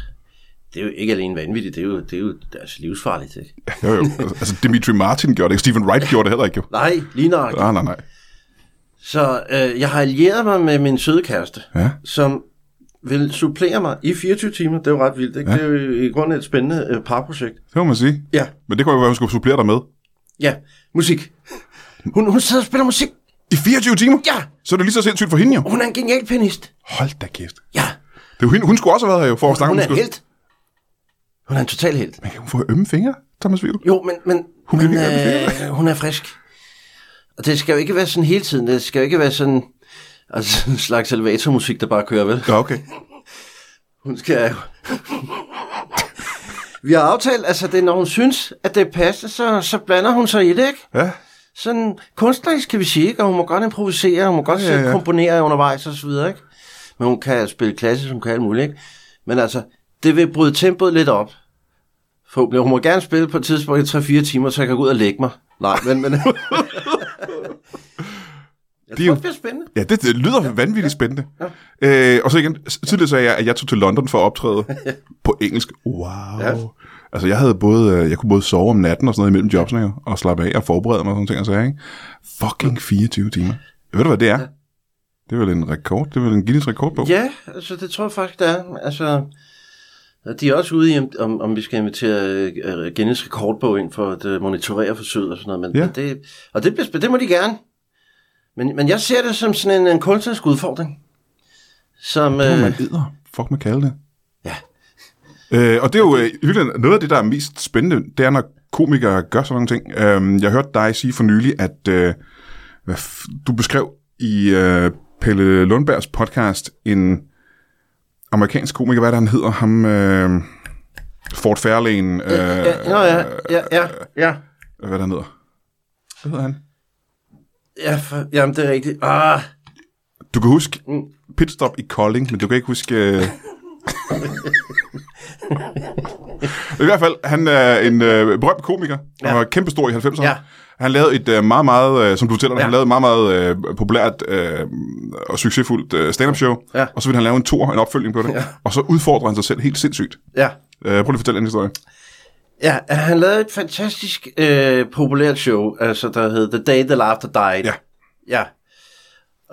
Speaker 2: det er jo ikke alene vanvittigt, det er jo, det er jo altså, livsfarligt, ikke?
Speaker 1: Jo, jo. Altså, Dimitri Martin gjorde det ikke. Stephen Wright gjorde det heller ikke, jo. Ah,
Speaker 2: Nej, lige nok.
Speaker 1: Nej, nej, nej.
Speaker 2: Så øh, jeg har allieret mig med min søde kæreste,
Speaker 1: Ja.
Speaker 2: som vil supplere mig i 24 timer. Det er jo ret vildt, ikke? Ja. Det er jo i grunden et spændende øh, parprojekt.
Speaker 1: Det må man sige.
Speaker 2: Ja,
Speaker 1: Men det kunne jo være, at hun skulle supplere dig med.
Speaker 2: ja, musik. Hun, hun sidder og spiller musik.
Speaker 1: I 24 timer?
Speaker 2: Ja,
Speaker 1: Så er det lige så sindssygt for hende, jo.
Speaker 2: hun er en genial pianist.
Speaker 1: Hold da kæft.
Speaker 2: Ja,
Speaker 1: Det er jo hende, hun skulle også have været her, jo, for at snakke
Speaker 2: hun
Speaker 1: om
Speaker 2: er en
Speaker 1: skulle...
Speaker 2: helt. Hun er en total helt.
Speaker 1: Men kan hun få ømme fingre, Thomas Wiel?
Speaker 2: Jo, men, men,
Speaker 1: Hun
Speaker 2: hun,
Speaker 1: kan
Speaker 2: men
Speaker 1: ikke være
Speaker 2: øh, hun er frisk. Og det skal jo ikke være sådan hele tiden. Det skal jo ikke være sådan altså, en slags elevatormusik, der bare kører, vel?
Speaker 1: Ja, okay.
Speaker 2: Hun skal jo... Vi har aftalt, altså det, er, når hun synes, at det passer, så, så blander hun sig i det, ikke?
Speaker 1: Ja.
Speaker 2: Sådan kunstnerisk kan vi sige, ikke? Og hun må godt improvisere, hun må godt
Speaker 1: Ja,
Speaker 2: ja,
Speaker 1: ja, ja.
Speaker 2: ja. komponere undervejs og så videre, ikke? Men hun kan spille klassisk, hun kan alt muligt, ikke? Men altså, det vil bryde tempoet lidt op. Forhåbentlig. Hun må gerne spille på et tidspunkt i 3-4 timer, så jeg kan gå ud og lægge mig. Nej, men... men... jeg
Speaker 1: er jo-
Speaker 2: tror, det bliver spændende.
Speaker 1: Ja, det, det lyder vanvittigt spændende. Øh, og så igen, s- tidligere sagde jeg, at jeg tog til London for at optræde på engelsk. Wow.
Speaker 2: Ja.
Speaker 1: Altså, jeg, havde både, øh, jeg kunne både sove om natten og sådan noget imellem jobsene, jo, og slappe af og forberede mig og sådan ting, og sagde, ikke? Fucking 24 timer. Ved du, hvad det er? Det er vel en rekord? Det er vel en Guinness rekordbog?
Speaker 2: Ja, altså det tror jeg faktisk, det er. Altså, de er også ude i, om- om, om vi skal invitere øh, øh, Guinness rekordbog ind for at øh, monitorere forsøget og sådan noget. Men
Speaker 1: Ja.
Speaker 2: ja. det, og det, bliver, spæ- det må de gerne. Men, men jeg ser det som sådan en, en kunstnerisk udfordring. Som,
Speaker 1: Det må
Speaker 2: øh,
Speaker 1: man edder. Fuck, man kalde det.
Speaker 2: ja,
Speaker 1: Øh, og det er jo øh, i virkeligheden noget af det, der er mest spændende, det er, når komikere gør sådan nogle ting. Øh, jeg hørte dig sige for nylig, at øh, hvad f- du beskrev i øh, Pelle Lundbergs podcast en amerikansk komiker, hvad er det, han hedder? Ham, øh, Ford Fairlane, øh,
Speaker 2: ja, nå, ja, ja, ja, ja,
Speaker 1: hvad er det, han hedder? Hvad hedder han?
Speaker 2: ja, for, jamen det er rigtigt. Ah,
Speaker 1: Du kan huske
Speaker 2: Mm.
Speaker 1: pitstop i Kolding, men du kan ikke huske... Øh... I hvert fald, han er en øh, berømt komiker, ja.
Speaker 2: Ja.
Speaker 1: han var kæmpestor i 90'erne.
Speaker 2: Ja.
Speaker 1: Han lavede et øh, meget, meget, øh, som du fortæller, ja.
Speaker 2: Ja.
Speaker 1: han lavede et meget, meget øh, populært øh, og succesfuldt øh, stand-up show,
Speaker 2: Ja.
Speaker 1: og så ville han lave en tour, en opfølging på det, ja. og så udfordrer han sig selv helt sindssygt.
Speaker 2: ja.
Speaker 1: Øh, prøv lige at fortælle en historie.
Speaker 2: Ja, han lavede et fantastisk øh, populært show, altså der hed The Day the Laughter Died.
Speaker 1: Ja.
Speaker 2: Ja.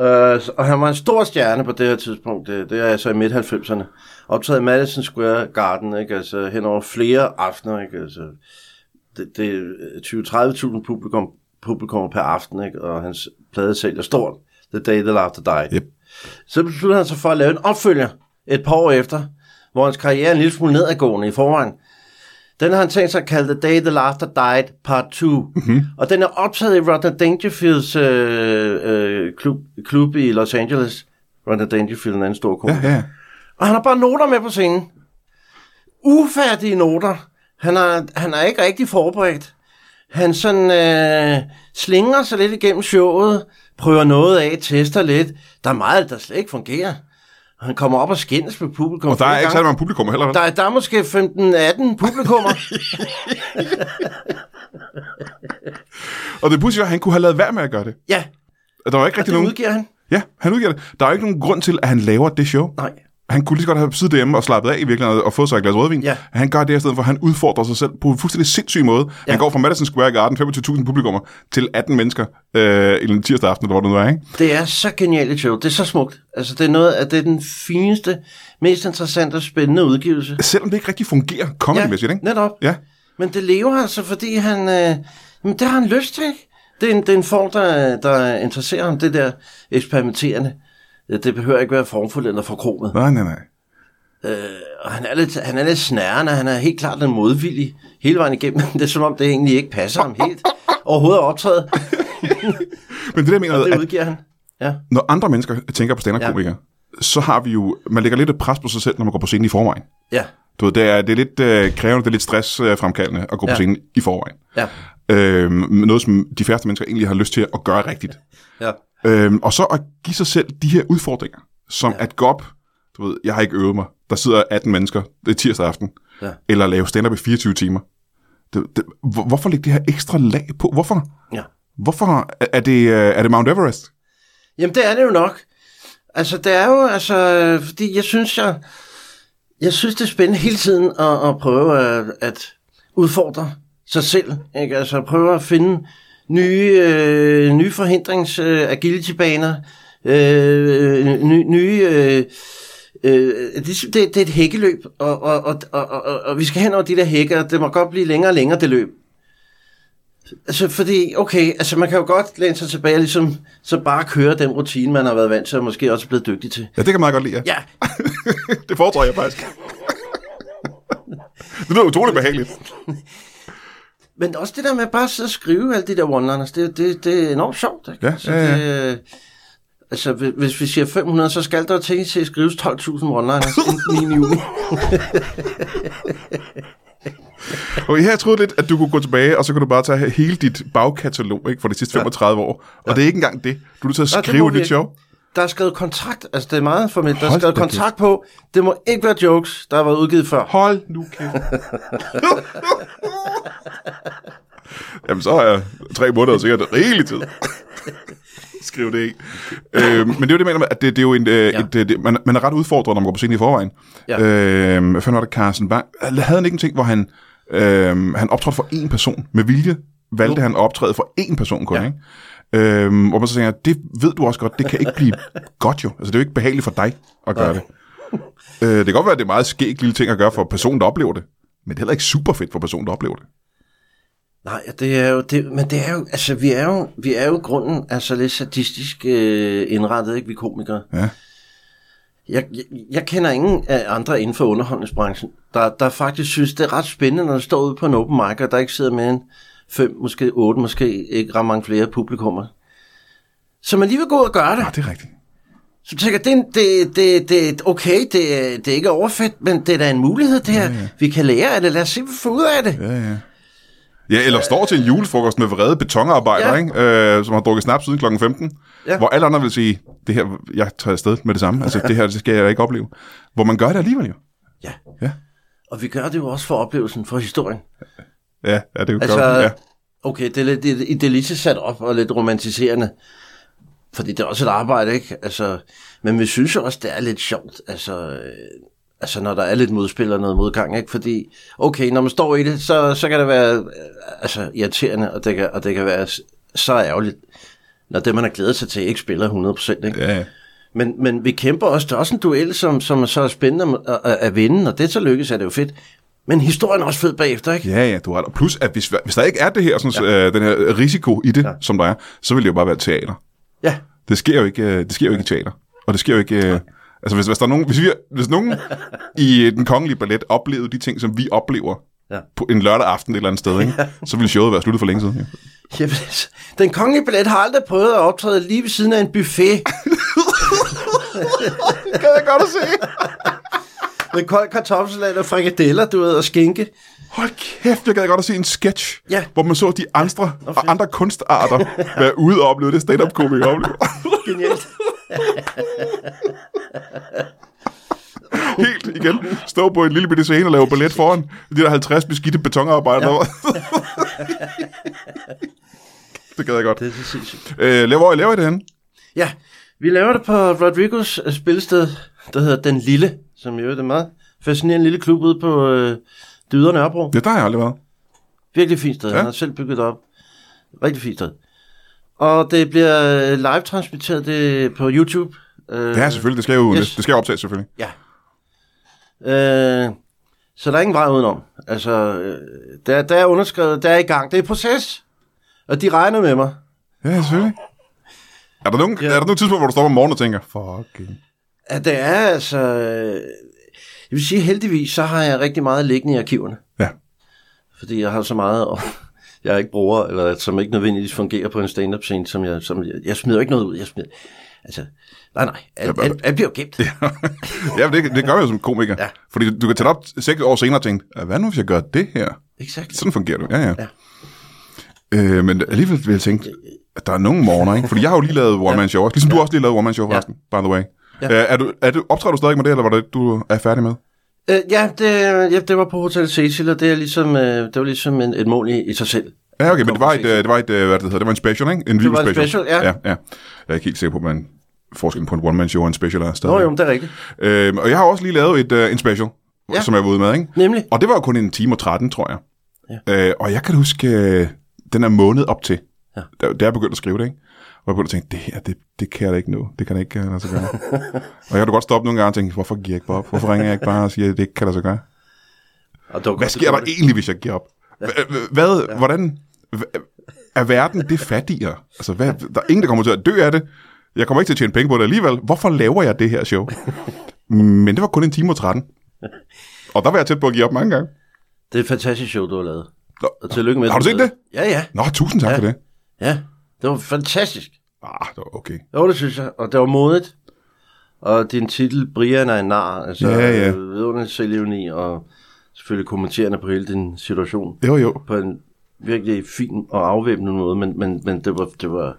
Speaker 2: Øh, og han var en stor stjerne på det her tidspunkt, det, det er altså i midt-90'erne. Optaget i Madison Square Garden, ikke? altså hen over flere aftener, ikke? altså det, det er øh, 20-30.000 publikum, publikum per aften, ikke? og hans plade sælger stort, The Day the Laughter Died.
Speaker 1: Yep.
Speaker 2: Så besluttede han sig for at lave en opfølger et par år efter, hvor hans karriere er en lille smule nedadgående i forvejen. Den har han tænkt sig at kalde The Day the Laughter Died Part 2. Mm-hmm. Og den er optaget i Rodney Dangerfields øh, øh, klub, klub i Los Angeles. Rodney Dangerfield er en anden stor komiker.
Speaker 1: Ja, ja, ja.
Speaker 2: Og han har bare noter med på scenen. Ufærdige noter. Han er, han er ikke rigtig forberedt. Han sådan øh, slinger sig lidt igennem showet, prøver noget af, tester lidt. Der er meget, der slet ikke fungerer. Han kommer op og skændes med publikum.
Speaker 1: Og der er
Speaker 2: flere
Speaker 1: ikke
Speaker 2: gange.
Speaker 1: særlig mange publikum heller. vel?
Speaker 2: Der er, der er måske 15-18 publikummer.
Speaker 1: Og det pudsige var, at han kunne have lavet værd med at gøre det.
Speaker 2: ja,
Speaker 1: Der var ikke
Speaker 2: og det
Speaker 1: rigtig nogen...
Speaker 2: udgiver han.
Speaker 1: Ja, han udgiver det. Der er jo ikke nogen grund til, at han laver det show.
Speaker 2: Nej.
Speaker 1: Han kunne lige så godt have siddet derhjemme og slappet af i virkeligheden og fået sig et glas rødvin.
Speaker 2: Ja.
Speaker 1: Han gør det i stedet for, at han udfordrer sig selv på en fuldstændig sindssyg måde. Ja. Han går fra Madison Square Garden, 25.000 publikummer, til 18 mennesker øh, en tirsdag aften, eller hvor det nu er. Ikke?
Speaker 2: Det er så genialt et show. Det er så smukt. Altså, det er noget af det er den fineste, mest interessante og spændende udgivelse.
Speaker 1: Selvom det ikke rigtig fungerer comedy-mæssigt. Ikke?
Speaker 2: netop.
Speaker 1: Ja.
Speaker 2: Men det lever altså, fordi han, øh, Men det har han lyst til. Det er en, det er en form, der, der interesserer ham, det der eksperimenterende. Det behøver ikke være formfuldt eller forkromet.
Speaker 1: Nej, nej, nej.
Speaker 2: Øh, og han er lidt, han er lidt snærende, han er helt klart den modvillige hele vejen igennem. Det er som om, det egentlig ikke passer ham helt. Overhovedet optræde,
Speaker 1: Men det der mener,
Speaker 2: og det
Speaker 1: at
Speaker 2: udgiver han. Ja.
Speaker 1: når andre mennesker tænker på stand-up-komikere, ja. så har vi jo, man lægger lidt et pres på sig selv, når man går på scenen i forvejen.
Speaker 2: Ja,
Speaker 1: Du ved, det er, det er lidt øh, krævende, det er lidt stressfremkaldende at gå ja. på
Speaker 2: Ja.
Speaker 1: scenen i forvejen.
Speaker 2: ja,
Speaker 1: Øhm, noget, som de færreste mennesker egentlig har lyst til at gøre rigtigt.
Speaker 2: ja.
Speaker 1: Øhm, og så at give sig selv de her udfordringer, som ja. at gå op, du ved, jeg har ikke øvet mig, der sidder 18 mennesker, det er tirsdag aften,
Speaker 2: Ja.
Speaker 1: eller lave stand-up i 24 timer. Det, det, hvor- hvorfor lægge det her ekstra lag på? Hvorfor?
Speaker 2: ja.
Speaker 1: Hvorfor er- er det, øh, er det Mount Everest?
Speaker 2: Jamen, det er det jo nok. Altså, det er jo, altså, øh, fordi jeg synes, jeg, jeg synes, det er spændende hele tiden at, at prøve at, at udfordre sig selv, ikke? Altså, at prøve at finde nye, øh, nye forhindrings øh, agility-baner, øh, nye, nye øh, øh, det, er sim- det, det er et hækkeløb, og, og, og, og, og, og vi skal hen over de der hække, og det må godt blive længere og længere, det løb. Altså, fordi, okay, altså man kan jo godt læne sig tilbage og ligesom, så bare køre den rutine, man har været vant til, og måske også blevet dygtig til.
Speaker 1: Ja, det kan jeg meget godt lide. Ja.
Speaker 2: Ja,
Speaker 1: det foretrækker jeg faktisk. det lyder utroligt behageligt.
Speaker 2: men også det der med bare at sidde og skrive alle de der one-liners, det, det, det er enormt sjovt. Ikke?
Speaker 1: Ja,
Speaker 2: altså,
Speaker 1: ja, ja.
Speaker 2: Det, øh, altså, hvi- hvis vi siger 500, så skal der jo tænke til at skrives 12.000 one-liners inden 9. juni.
Speaker 1: Okay, her troede jeg lidt, at du kunne gå tilbage, og så kunne du bare tage hele dit bagkatalog ikke, for de sidste 35 år. Og det er ikke engang det. Du er nødt til at
Speaker 2: Nå, det
Speaker 1: skrive
Speaker 2: må
Speaker 1: et
Speaker 2: vi
Speaker 1: nyt
Speaker 2: ikke.
Speaker 1: show.
Speaker 2: Der er skrevet kontrakt, altså det er meget formelt, der er
Speaker 1: Hold
Speaker 2: skrevet
Speaker 1: da kæft.
Speaker 2: kontrakt på, det må ikke være jokes, der har været udgivet før.
Speaker 1: Hold nu kæft. Jamen, så har jeg tre måneder sikkert rigelig tid. Skriv det ikke. Øh, men det er jo det, jeg mener med, at det, det er jo en... Øh, ja. et, øh, det, man, man er ret udfordret, når man går på scenen i forvejen.
Speaker 2: Ja.
Speaker 1: Øh, hvad fanden var det, Carsten Bang? Havde han ikke en ting, hvor han, øh, han optrådte for én person med vilje? Valgte han at optræde for én person kun, ja. ikke? Øhm, hvor man så tænker, det ved du også godt, det kan ikke blive godt jo. Altså, det er jo ikke behageligt for dig at gøre det. Øh, det kan godt være, at det er meget skægt lille ting at gøre for personen, der oplever det. Men det er heller ikke super fedt for personen, der oplever det.
Speaker 2: Nej, det er jo, det, men det er jo, altså vi er jo, vi er jo i grunden altså lidt sadistisk øh, indrettet, ikke vi komikere.
Speaker 1: Ja.
Speaker 2: Jeg, jeg, jeg kender ingen af andre inden for underholdningsbranchen, der, der faktisk synes, det er ret spændende, når du står ude på en open mic, og der ikke sidder mere end fem, måske otte, måske ikke ret mange flere publikummer. Så man lige vil gå ud og gøre det.
Speaker 1: Ah, det er rigtigt.
Speaker 2: Så tænker jeg, det, er en- det, det, det, okay, det, er- det er ikke overfedt, men det er da en mulighed, det her. Ja, ja. Vi kan lære af det, lad os se, hvad vi får ud af det.
Speaker 1: Ja, ja. Ja, eller står til en julefrokost med vrede betonarbejdere, ja.
Speaker 2: Ja.
Speaker 1: ikke? Øh, som har drukket snaps siden kl. 15, ja.
Speaker 2: Ja.
Speaker 1: hvor alle andre vil sige, det her, jeg tager afsted med det samme, altså det her, det skal jeg ikke opleve. Hvor man gør det alligevel jo.
Speaker 2: Ja.
Speaker 1: Ja.
Speaker 2: Og vi gør det jo også for oplevelsen, for historien.
Speaker 1: Ja, ja det er jo altså,
Speaker 2: Altså,
Speaker 1: godt. Ja.
Speaker 2: okay, det er, lidt, det, er- det er lidt sat op og lidt romantiserende, fordi det er også et arbejde, ikke? Altså, men vi synes jo også, det er lidt sjovt, altså, øh, altså når der er lidt modspil og noget modgang, ikke? Fordi, okay, når man står i det, så, så kan det være øh, altså, irriterende, og det, kan, og det kan være s- så ærgerligt, når det, man har glædet sig til, ikke spiller 100%, ikke?
Speaker 1: Ja, ja.
Speaker 2: Men, men vi kæmper også, der er også en duel, som, som er så spændende at, at, at vinde, og det så lykkes, er det jo fedt. Men historien er også fed bagefter, ikke?
Speaker 1: Ja, ja, du har ret. Og Plus, at hvis, hvis der ikke er det her, sådan, ja. øh, den her risiko i det, ja. som der er, så vil det jo bare være teater.
Speaker 2: Ja.
Speaker 1: Det sker jo ikke, øh, det sker jo ikke i teater. Og det sker jo ikke... Øh, altså, hvis, hvis, der er nogen, hvis, vi, hvis nogen i øh, den kongelige ballet oplevede de ting, som vi oplever ja.
Speaker 2: Ja.
Speaker 1: på en lørdag aften et eller andet sted, ikke? så ville showet være sluttet for længe siden. Ja.
Speaker 2: Jamen, altså, den kongelige ballet har aldrig prøvet at optræde lige ved siden af en buffet.
Speaker 1: det kan jeg godt at se.
Speaker 2: med kold kartoffelsalat og frikadeller, du ved, og skinke.
Speaker 1: Hold kæft, jeg gad godt at se en sketch,
Speaker 2: Ja.
Speaker 1: hvor man så de andre, og andre kunstarter være ude og opleve det stand-up komikere oplever.
Speaker 2: Genialt.
Speaker 1: Helt igen. Stå på en lille bitte scene og lave ballet foran de der 50 beskidte betonarbejdere. Ja. det gad jeg godt.
Speaker 2: Det er så sindssygt.
Speaker 1: Øh, laver, hvor laver I det henne?
Speaker 2: Ja, vi laver det på Rodrigos øh, spilsted, der hedder Den Lille, som jo er det meget fascinerende lille klub ude på øh, det ydre Nørrebro.
Speaker 1: Ja, der har jeg aldrig været.
Speaker 2: Virkelig fint sted. Ja. Han har selv bygget det op. Rigtig fint sted. Og det bliver øh, live-transmitteret det, på YouTube. Øh,
Speaker 1: Ja, selvfølgelig. Det skal jo
Speaker 2: Yes.
Speaker 1: det skal jo optages, selvfølgelig.
Speaker 2: Ja. Øh, så der er ingen vej udenom. Altså, øh, der, der er underskrevet, der er i gang. Det er i proces. Og de regner med mig.
Speaker 1: Ja, selvfølgelig. Er der nogen, ja. er der nogen tidspunkt, hvor du står om morgenen og tænker, fucking...
Speaker 2: At det er altså... øh, Jeg vil sige, heldigvis, så har jeg rigtig meget liggende i arkiverne.
Speaker 1: Ja.
Speaker 2: Fordi jeg har så meget, og jeg ikke bruger, eller som ikke nødvendigvis fungerer på en stand-up scene, som jeg... Som jeg, jeg smider ikke noget ud. Jeg smider, altså, nej, nej. Alt,
Speaker 1: Jamen,
Speaker 2: alt, alt bliver jo gemt.
Speaker 1: ja, men det, det gør jeg jo som komiker. Ja.
Speaker 2: Ja.
Speaker 1: Fordi du kan tage det op seks år senere og tænke, "Ah, hvad nu, hvis jeg gør det her?
Speaker 2: Exakt.
Speaker 1: Sådan fungerer det. Ja, ja. ja.
Speaker 2: Ja.
Speaker 1: Øh, men alligevel vil jeg tænke, at der er nogen morgener, ikke? Fordi jeg har jo lige lavet One Man Show, også. ligesom ja. du også lige lavede One Man Show,
Speaker 2: Ja.
Speaker 1: forresten, by the way. Ja.
Speaker 2: Ja.
Speaker 1: Øh, er du, er du, optræder du stadig med det, eller var det, du er færdig med?
Speaker 2: Øh, ja, det, ja, det var på Hotel Cecil, og det, er ligesom, øh, det var ligesom en, et mål i, i sig selv.
Speaker 1: Ja, okay, men det var et,
Speaker 2: Præcis.
Speaker 1: øh, det var et, øh, hvad det hedder, det var en special, ikke? En det
Speaker 2: var en special, ja.
Speaker 1: ja. ja. Jeg er ikke helt sikker på, man forskellen på en one-man show og en special er stadig.
Speaker 2: Nå jo, men det er rigtigt.
Speaker 1: Øhm, og jeg har også lige lavet et, øh, en special, ja.
Speaker 2: Ja.
Speaker 1: som jeg var ude med, ikke?
Speaker 2: Nemlig.
Speaker 1: Og det var jo kun en time og 13, tror jeg. Ja. Øh, og jeg kan huske, øh, den er måned op til, ja.
Speaker 2: Ja.
Speaker 1: da, da jeg begyndte at skrive det, ikke? Og jeg begyndte at tænke, det her, det, det kan jeg da ikke nu. Det kan jeg ikke uh, lade sig gøre. og jeg kan da godt stoppe nogle gange og tænke, hvorfor giver jeg ikke bare op? Hvorfor ringer jeg ikke bare og siger, at det ikke kan lade sig gøre?
Speaker 2: Og det
Speaker 1: Hvad
Speaker 2: var godt,
Speaker 1: sker
Speaker 2: du
Speaker 1: der
Speaker 2: gjorde det.
Speaker 1: egentlig, hvis jeg giver op? Hva- hva- Hvad, hvordan, hva- er verden det fattigere? Altså, hvad, der er ingen, der kommer til at dø af det. Jeg kommer ikke til at tjene penge på det alligevel. Hvorfor laver jeg det her show? Men det var kun en time og 13. Og der var jeg tæt på at give op mange gange.
Speaker 2: Det er et fantastisk show, du har lavet.
Speaker 1: Nå,
Speaker 2: Og tillykke med
Speaker 1: Har du set det?
Speaker 2: Ja, ja.
Speaker 1: nå tusind tak ja.
Speaker 2: Ja.
Speaker 1: for det.
Speaker 2: Ja, det var fantastisk.
Speaker 1: Ah, det var okay.
Speaker 2: Jo, det synes jeg. Og det var modigt. Og din titel, Brian er en nar. Altså,
Speaker 1: Ja, ja.
Speaker 2: øh, Vidunderlig selvevni, og selvfølgelig kommenterende på hele din situation.
Speaker 1: Jo, jo.
Speaker 2: På en virkelig fin og afvæbnende måde, men, men, men det var, det var,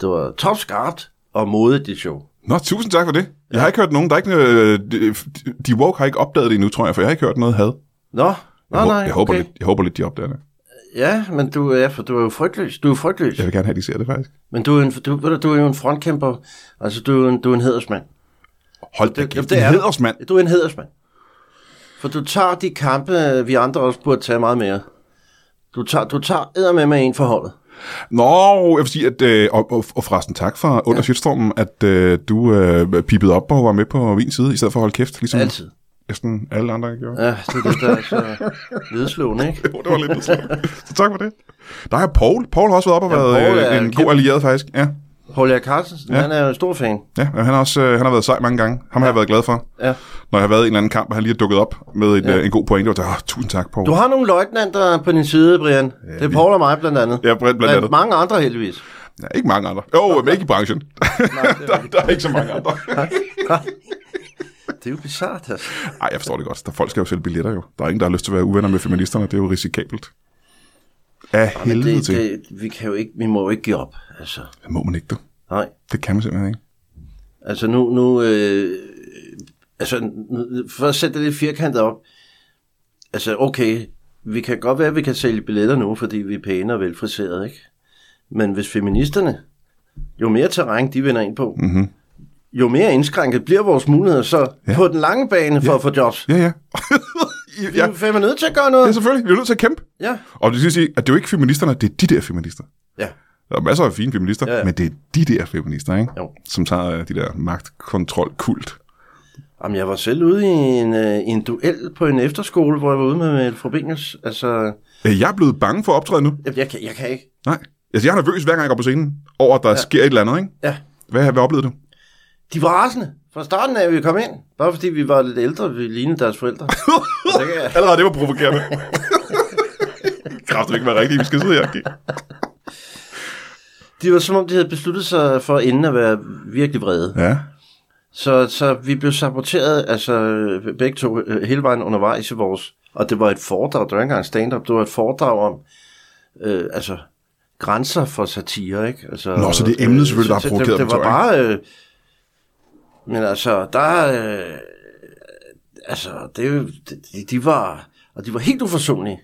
Speaker 2: det var topskarpt og modigt, dit show.
Speaker 1: Nå, tusind tak for det. Jeg har ikke hørt nogen. Der er ikke, øh, de, de woke har ikke opdaget det endnu, tror jeg, for jeg har ikke hørt noget had.
Speaker 2: Nå,
Speaker 1: Jeg,
Speaker 2: nej,
Speaker 1: hå-
Speaker 2: nej,
Speaker 1: jeg, håber
Speaker 2: okay.
Speaker 1: lidt, jeg håber lidt, de opdager det.
Speaker 2: Ja, men du er, for du er jo frygtløs. Du er frygtløs.
Speaker 1: Jeg
Speaker 2: Ja.
Speaker 1: vil gerne have, at de ser det faktisk.
Speaker 2: Men du er, en, du, ved du, du er jo en frontkæmper. Altså, du er jo en, du er en hedersmand.
Speaker 1: Hold da
Speaker 2: Det-
Speaker 1: kæft,
Speaker 2: det
Speaker 1: det
Speaker 2: er
Speaker 1: er
Speaker 2: du.
Speaker 1: hedersmand.
Speaker 2: Du er en hedersmand. For du tager de kampe, vi andre også burde tage meget mere. Du tager, du tager med med en forholdet.
Speaker 1: Mm. Nå, jeg vil sige, at, øh, og, og, og forresten tak for under shitstormen, at øh, du øh, pipede op og var med på min side, i stedet for at holde kæft, ligesom
Speaker 2: Altid.
Speaker 1: næsten alle andre gjorde.
Speaker 2: Ja, det er det, der er så nedslående, ikke?
Speaker 1: Jo, det var lidt nedslående. Så tak for det. Der er Paul. Paul har også været op og
Speaker 2: Ja,
Speaker 1: været
Speaker 2: Paul
Speaker 1: øh,
Speaker 2: er
Speaker 1: en
Speaker 2: kæmpe-
Speaker 1: god allieret faktisk. Ja,
Speaker 2: Paul Erik Carlsen, ja. han er jo en stor fan.
Speaker 1: ja og han, har også, øh, han har været sej mange gange. Ham har jeg været glad for.
Speaker 2: Ja.
Speaker 1: Når jeg har været i en eller anden kamp, og han lige har dukket op med et, ja. øh, en god pointe, og jeg tænker, "Åh, tusind tak, Paul.
Speaker 2: Du har nogle løjtnanter på din side, Brian. det er Paul og mig blandt andet.
Speaker 1: Ja, blandt andet.
Speaker 2: mange andre heldigvis.
Speaker 1: Ja, ikke mange andre. Jo, men ikke i branchen. der, der er ikke så mange andre.
Speaker 2: Det er jo bizarrt, altså.
Speaker 1: Nej, jeg forstår det godt. Der folk skal jo sælge billetter jo. Der er ingen, der har lyst til at være uvenner med feministerne. Det er jo risikabelt. Af helvede
Speaker 2: Det,
Speaker 1: til. Det
Speaker 2: det, vi, kan jo ikke, vi må jo ikke give op, altså.
Speaker 1: må man ikke, du.
Speaker 2: Nej.
Speaker 1: Det kan man simpelthen ikke.
Speaker 2: Altså nu, nu øh, altså nu- for at sætte det lidt firkantet op, altså okay, vi kan godt være, at vi kan sælge billetter nu, fordi vi er pæne og velfriserede, ikke? Men hvis feministerne, jo mere terræn de vender ind på, mm-hmm. jo mere indskrænket bliver vores muligheder så ja. på den lange bane for ja. at få jobs.
Speaker 1: Ja, ja.
Speaker 2: Vi
Speaker 1: ja.
Speaker 2: er jo fandme nødt til at gøre
Speaker 1: ja,
Speaker 2: noget.
Speaker 1: selvfølgelig. Vi er nødt til at kæmpe.
Speaker 2: Ja,
Speaker 1: Og det vil sige, at det er jo ikke feministerne, det er de der feminister.
Speaker 2: ja,
Speaker 1: Der er masser af fine feminister, ja,
Speaker 2: Ja,
Speaker 1: ja.
Speaker 2: ja.
Speaker 1: men det er de der feminister, ikke?
Speaker 2: Jo.
Speaker 1: Som tager øh, de der magtkontrol-kult.
Speaker 2: Jamen, jeg var selv ude i en, øh, i en duel på en efterskole, hvor jeg var ude med Mette Frobenius. Altså,
Speaker 1: Øh, Jeg er blevet bange for at optræde nu.
Speaker 2: jeg, jeg, kan, jeg kan ikke.
Speaker 1: Nej. Altså, jeg er nervøs, hver gang jeg går på scenen, over at der ja. sker et eller andet, ikke?
Speaker 2: Ja.
Speaker 1: Hvad, hvad oplevede du?
Speaker 2: De var rasende fra starten af, vi kom ind. Bare fordi vi var lidt ældre, vi lignede deres forældre. Og det kan jeg-
Speaker 1: Allerede det var provokerende. Kræfter ikke være rigtigt, vi skal sidde her og kigge.
Speaker 2: de var som om, de havde besluttet sig for inden at være virkelig vrede.
Speaker 1: Ja.
Speaker 2: Så, så vi blev saboteret, altså øh, begge to, øh, hele vejen undervejs i vores... Og det var et foredrag, det var ikke engang stand-up, det var et foredrag om, øh, altså, grænser for satire, ikke? Altså,
Speaker 1: Nå, så det er emnet selvfølgelig, der har
Speaker 2: så- så
Speaker 1: provokeret dem,
Speaker 2: det, det var
Speaker 1: tror
Speaker 2: bare... Øh, men altså, der... Øh, altså, det, er jo- de, de var... Og de var helt uforsonlige.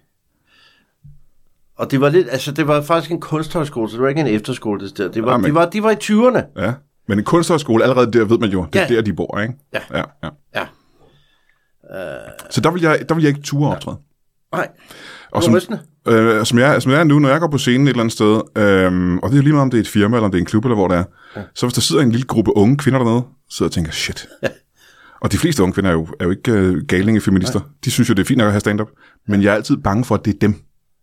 Speaker 2: Og det var lidt, altså det var faktisk en kunsthøjskole, så det var ikke en efterskole, det der. Det var,
Speaker 1: Ah, men-
Speaker 2: de, var, de var i 20'erne.
Speaker 1: ja. Men en kunsthøjskole, allerede der ved man jo, det er ja.
Speaker 2: Ja.
Speaker 1: der, de bor, ikke?
Speaker 2: Ja.
Speaker 1: ja, ja.
Speaker 2: Ja,
Speaker 1: Så der vil, jeg, der vil jeg ikke ture optræde.
Speaker 2: nej.
Speaker 1: Og
Speaker 2: Det
Speaker 1: som,
Speaker 2: var rystende.
Speaker 1: øh, som, jeg, som jeg er nu, når jeg går på scenen et eller andet sted, øh, og det er jo lige meget, om det er et firma, eller om det er en klub, eller hvor det er, ja. så hvis der sidder en lille gruppe unge kvinder dernede, sidder og tænker, shit. Ja. Og de fleste unge kvinder er jo, er jo ikke øh, galinge feminister. De synes jo, det er fint nok at have stand-up. Men jeg er altid bange for, at det er dem.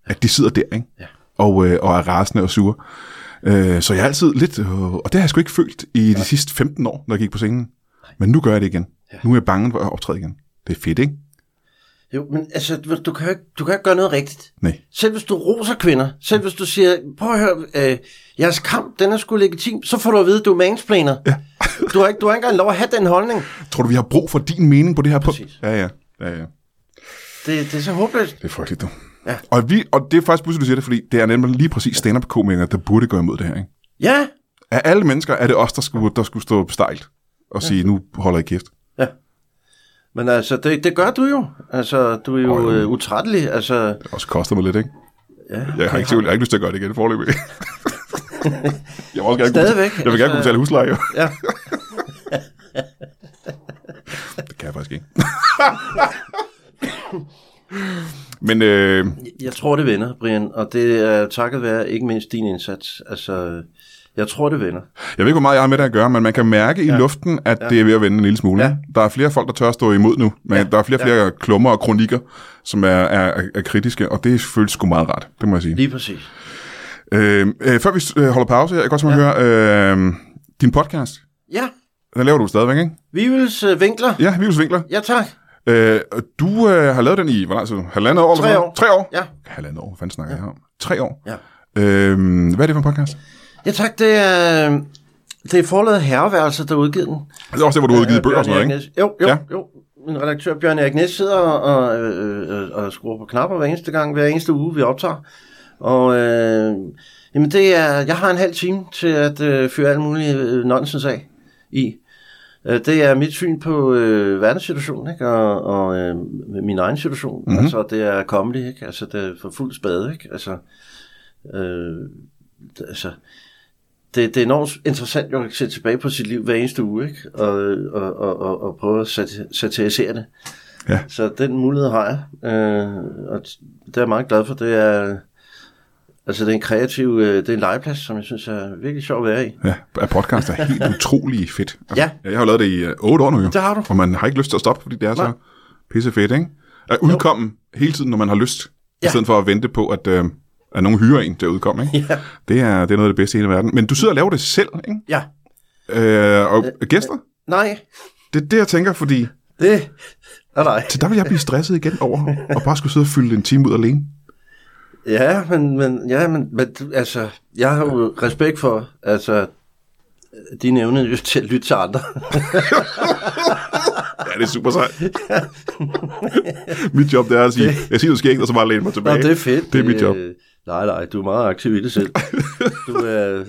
Speaker 1: At de sidder der, ikke?
Speaker 2: Ja.
Speaker 1: og, øh, og er rasende og sur. Øh, så jeg er altid lidt, øh, og det har jeg sgu ikke følt i de sidste 15 år, når jeg gik på scenen. Men nu gør jeg det igen. Nu er jeg bange for at optræde igen. Det er fedt, ikke?
Speaker 2: Jo, men altså, du- du kan jo ikke, du kan jo ikke gøre noget rigtigt.
Speaker 1: Nej.
Speaker 2: Selv hvis du roser kvinder, selv hvis du siger, prøv at høre, øh, jeres kamp, den er sgu legitim, så får du at vide, du er mansplaner. Ja. du, har ikke, du har ikke engang lov at have den holdning.
Speaker 1: Tror du, vi har brug for din mening på det her punkt?
Speaker 2: Præcis.
Speaker 1: Ja, ja. ja, ja.
Speaker 2: Det, det er så håbløst.
Speaker 1: Det er frygteligt, du.
Speaker 2: Ja.
Speaker 1: Og, vi, og det er faktisk pludselig, du siger det, fordi det er nemlig lige præcis stand-up-komikere, der burde gå imod det her. Ikke?
Speaker 2: Ja,
Speaker 1: Af alle mennesker er det os, der skulle, der skulle stå stejlt og sige, nu holder I kæft.
Speaker 2: ja. Men altså, det, det gør du jo. Altså, du er jo øh, utrættelig. Altså,
Speaker 1: Det også koster mig lidt, ikke? Ja, jeg, har ikke, jeg har ikke lyst til at gøre det igen forløb. jeg, vil også gerne
Speaker 2: Stadigvæk,
Speaker 1: Kunne, jeg vil gerne kunne
Speaker 2: altså-
Speaker 1: betale husleje. jo.
Speaker 2: ja.
Speaker 1: det kan jeg faktisk ikke. Men øh,
Speaker 2: Jeg tror, det vender, Brian, og det er takket være ikke mindst din indsats. Altså, jeg tror, det vender.
Speaker 1: jeg ved ikke, hvor meget jeg har med det at gøre, men man kan mærke ja. i luften, at ja. det er ved at vende en lille smule. Ja.
Speaker 2: Ja.
Speaker 1: Der er flere folk, der tør at stå imod nu. Men ja. der er flere og flere ja. klummer og kronikker, som er, er, er kritiske, og det føles sgu meget rart, det må jeg sige.
Speaker 2: Lige præcis.
Speaker 1: Øh, øh, før vi øh, holder pause, jeg kan godt tænke mig at høre øh, din podcast.
Speaker 2: Ja,
Speaker 1: Den laver du stadigvæk, ikke?
Speaker 2: Vivels øh, vinkler. Ja.
Speaker 1: Ja, Vibels Vinkler.
Speaker 2: ja, tak.
Speaker 1: Øh, og du øh, har lavet den i, hvor lang tid? Halvandet år? eller
Speaker 2: Tre
Speaker 1: sådan
Speaker 2: år.
Speaker 1: noget? Tre år?
Speaker 2: Ja.
Speaker 1: Halvandet år, hvad fanden snakker ja. jeg om? Tre år?
Speaker 2: Ja.
Speaker 1: Øh, hvad er det for en podcast?
Speaker 2: Ja, tak. Det er, øh, det er forladet herreværelse, der er udgivet den. Øh,
Speaker 1: Det er også det, hvor du har udgivet bøger og sådan noget,
Speaker 2: Bjørn
Speaker 1: ikke?
Speaker 2: Erik Næs- Jo, jo,
Speaker 1: Ja.
Speaker 2: ja. jo. Min redaktør Bjørn Erik Næs sidder og, øh, øh, og skruer på knapper hver eneste gang, hver eneste uge, vi optager. Og øh, jamen det er, jeg har en halv time til at øh, føre alle mulige øh, nonsens af i. Øh, Det er mit syn på øh, verdenssituationen, ikke? Og, og øh, min egen situation.
Speaker 1: Mhm.
Speaker 2: Mm-hmm. Altså, det er comedy, ikke? Altså, det er for fuld spade, ikke? Altså, øh, det- altså, det, det er enormt interessant jo, at se tilbage på sit liv hver eneste uge, ikke? Og, og, og, og, og prøve at sat- satirisere det.
Speaker 1: Ja.
Speaker 2: Så den mulighed har jeg, øh, og t- det er jeg meget glad for. Det er, altså, det er en kreativ, øh, det er en legeplads, som jeg synes er virkelig sjov at være i.
Speaker 1: Ja, at podcast er helt utrolig fedt.
Speaker 2: Ja.
Speaker 1: Jeg har lavet det i øh, otte år nu, jo.
Speaker 2: Det har du.
Speaker 1: Og man har ikke lyst til at stoppe, fordi det er så
Speaker 2: Nej.
Speaker 1: pisse fedt, ikke? At udkomme hele tiden, når man har lyst, ja. i
Speaker 2: Ja.
Speaker 1: stedet for at vente på, at, øh, at nogen hyrer en til at udkomme, ikke?
Speaker 2: Ja.
Speaker 1: Det er, det er noget af det bedste i hele verden. Men du sidder og laver det selv, ikke?
Speaker 2: Ja.
Speaker 1: Øh, og gæster?
Speaker 2: Nej,
Speaker 1: Det er det, jeg tænker, fordi
Speaker 2: det... Nej, nej.
Speaker 1: så der vil jeg blive stresset igen over og bare skulle sidde og fylde en time ud alene.
Speaker 2: Ja, men, men, ja, men, men du- altså, jeg har jo respekt for, altså, dine evner jo til at lytte til andre.
Speaker 1: Ja, det er super sejt. mit job, det er at sige, jeg siger, du skal ikke, og så bare læne mig
Speaker 2: Nå,
Speaker 1: tilbage.
Speaker 2: det er fedt.
Speaker 1: Det er mit job.
Speaker 2: Øh, Nej, nej, du er meget aktiv i det selv. Du er